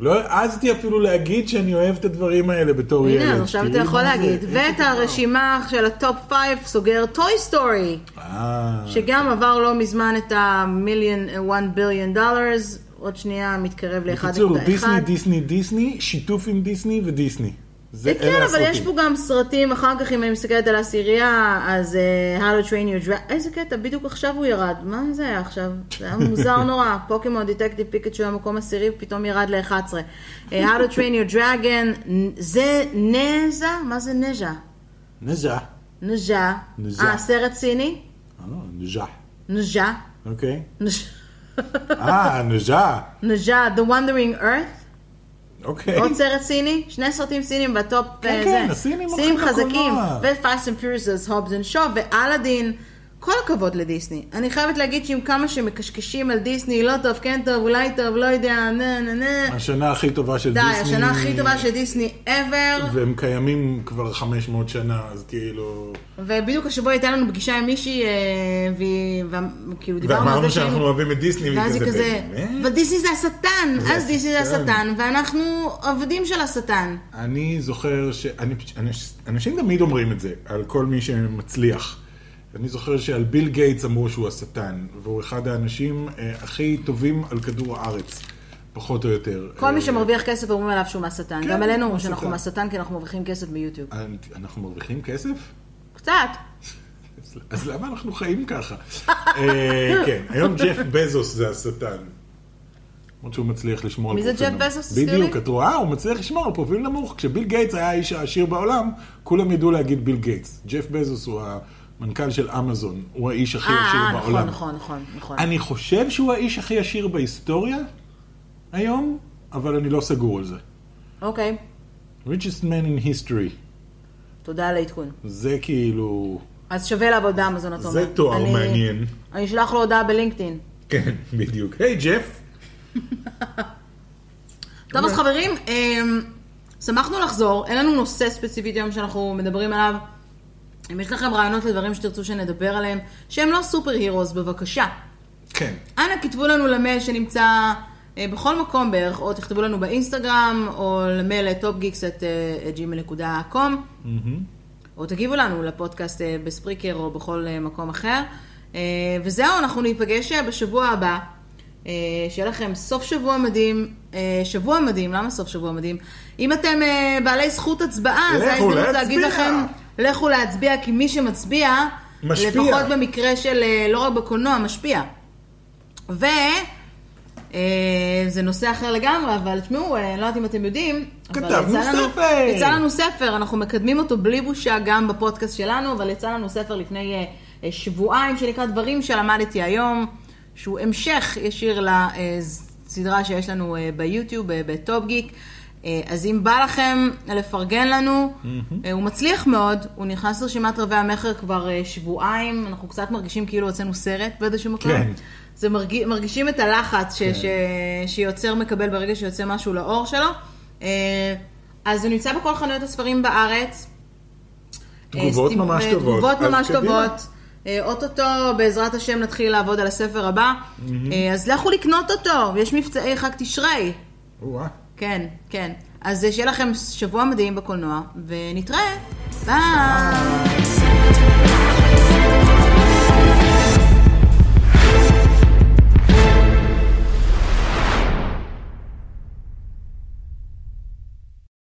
B: לא העזתי אפילו להגיד שאני אוהב את הדברים האלה בתור ילד.
A: הנה, אז עכשיו אתה
B: תראי
A: יכול
B: מה זה,
A: להגיד.
B: איך
A: ואת
B: הגענו?
A: הרשימה של הטופ 5 סוגר טוי סטורי.
B: אה,
A: שגם עבר לא מזמן את אה, המיליון, 1 ביליון דולרס, עוד שנייה מתקרב ל-1.1.
B: בקיצור, דיסני, דיסני, דיסני, שיתוף עם דיסני ודיסני. זה אלה
A: כן, אבל
B: הסרטים.
A: יש פה גם סרטים, אחר כך אם אני מסתכלת על העשירייה, אז אה, How to Train Your Dragon, איזה קטע, בדיוק עכשיו הוא ירד, מה זה היה עכשיו? זה היה מוזר נורא, פוקימון דטקטיב פיקצ'ו היה מקום עשירי, פתאום ירד ל-11. אה, How to Train Your Dragon, זה נזה? מה זה נז'ה?
B: נז'ה.
A: נז'ה.
B: נז'ה.
A: אה, סרט סיני?
B: אה, נז'ה.
A: נז'ה.
B: אוקיי.
A: נז'ה.
B: אה, נז'ה.
A: נז'ה, The Wandering Earth?
B: אוקיי.
A: עוד סרט סיני, שני סרטים סינים בטופ
B: כן,
A: אה,
B: כן,
A: זה.
B: הסינים
A: סינים
B: הולכים
A: חזקים,
B: לקולנוע.
A: ו-Fast and Furious, אז הובס אנד שו, ואלאדין. כל הכבוד לדיסני. אני חייבת להגיד שעם כמה שמקשקשים על דיסני, לא טוב, כן טוב, אולי טוב, לא יודע, נה נה נה.
B: השנה הכי טובה של
A: די,
B: דיסני.
A: השנה הכי טובה של דיסני ever,
B: והם קיימים כבר 500 שנה, אז כאילו...
A: ובדיוק השבוע הייתה לנו פגישה עם מישהי, אה, והיא- וה- כאילו דיברנו על
B: ואמרנו
A: זה שהיינו-
B: שאנחנו לא אוהבים את דיסני, והיא
A: ואז היא כזה,
B: באמת?
A: אבל דיסני זה השטן,
B: זה
A: אז דיסני זה
B: השטן.
A: השטן, ואנחנו עבדים של השטן.
B: אני זוכר ש... אני- אנש- אנשים תמיד אומרים את זה, על כל מי שמצליח. אני זוכר שעל ביל גייטס אמרו שהוא השטן, והוא אחד האנשים אה, הכי טובים על כדור הארץ, פחות או יותר.
A: כל מי
B: אה,
A: שמרוויח כסף אומרים עליו שהוא מהשטן.
B: כן,
A: גם אלינו אומרים
B: מהשטן.
A: שאנחנו מהשטן כי אנחנו מרוויחים כסף ביוטיוב.
B: אה, אנחנו מרוויחים כסף?
A: קצת.
B: אז- אז למה אנחנו חיים ככה? אה, כן, היום ג'ף בזוס זה השטן. למרות שהוא מצליח לשמור על
A: מי זה
B: פרופיל
A: ג'ף
B: נמוך.
A: בזוס? תזכיר לי.
B: בדיוק, את רואה? הוא מצליח לשמור על פרופיל נמוך. כשביל גייטס היה האיש העשיר בעולם, כולם ידעו להגיד ביל גייטס. ג'ף בזוס הוא המנכ"ל של אמזון, הוא האיש הכי
A: אה,
B: עשיר
A: אה,
B: בעולם.
A: נכון, נכון, נכון, נכון.
B: אני חושב שהוא האיש הכי עשיר בהיסטוריה היום, אבל אני לא סגור על זה.
A: אוקיי,
B: richest man in history.
A: תודה על העדכון.
B: זה כאילו...
A: אז שווה לעבוד באמזון, אתה אומר.
B: זה תואר
A: אני-
B: מעניין.
A: אני אשלח לו הודעה בלינקדאין.
B: כן, בדיוק. היי, ג'ף.
A: טוב,
B: אוקיי.
A: אז חברים, אמ, שמחנו לחזור. אין לנו נושא ספציפית היום שאנחנו מדברים עליו. אם יש לכם רעיונות לדברים שתרצו שנדבר עליהם, שהם לא סופר הירוס, בבקשה.
B: כן.
A: אנא כתבו לנו למייל שנמצא אה, בכל מקום בערך, או תכתבו לנו באינסטגרם, או למייל אה, topgeeks@gmail.com,
B: Mm-hmm.
A: או תגיבו לנו לפודקאסט אה, בספריקר או בכל אה, מקום אחר. אה, וזהו, אנחנו ניפגש אה, בשבוע הבא. אה, שיהיה לכם סוף שבוע מדהים, אה, שבוע מדהים, למה סוף שבוע מדהים? אם אתם אה, בעלי זכות הצבעה,
B: לכו
A: זה ההזדמנות להגיד
B: להצביע.
A: לכם, לכו להצביע, כי מי שמצביע,
B: משפיע.
A: לפחות במקרה של, אה, לא רק בקולנוע, משפיע. ו... אה, זה נושא אחר לגמרי, אבל תשמעו, אה, אני לא יודעת אם אתם יודעים, אבל
B: כתבנו
A: יצא לנו-
B: ספר.
A: יצא לנו ספר, אנחנו מקדמים אותו בלי בושה גם בפודקאסט שלנו, אבל יצא לנו ספר לפני אה, אה, שבועיים שנקרא דברים שלמדתי היום, שהוא המשך ישיר לסדרה שיש לנו אה, ביוטיוב, אה, בטופ גיק. אה, אז אם בא לכם לפרגן לנו, אה, הוא מצליח מאוד, הוא נכנס לרשימת רבי המכר כבר אה, שבועיים, אנחנו קצת מרגישים כאילו הוצאנו סרט באיזשהו מקום.
B: כן.
A: זה מרגיש, מרגישים את הלחץ ש, ש, שיוצר מקבל ברגע שיוצא משהו לאור שלו. אה, אז הוא נמצא בכל חנויות הספרים בארץ. אה,
B: תגובות
A: סטיב-
B: ממש
A: אה,
B: טובות.
A: תגובות
B: אז
A: ממש
B: קדימה.
A: טובות. אה, אוטוטו, בעזרת השם, נתחיל לעבוד על הספר הבא. אה, אז לכו לקנות אותו, יש מבצעי חג תשרי.
B: או-אה.
A: כן, כן. אז אה, שיהיה לכם שבוע מדהים בקולנוע, ונתראה. ביי.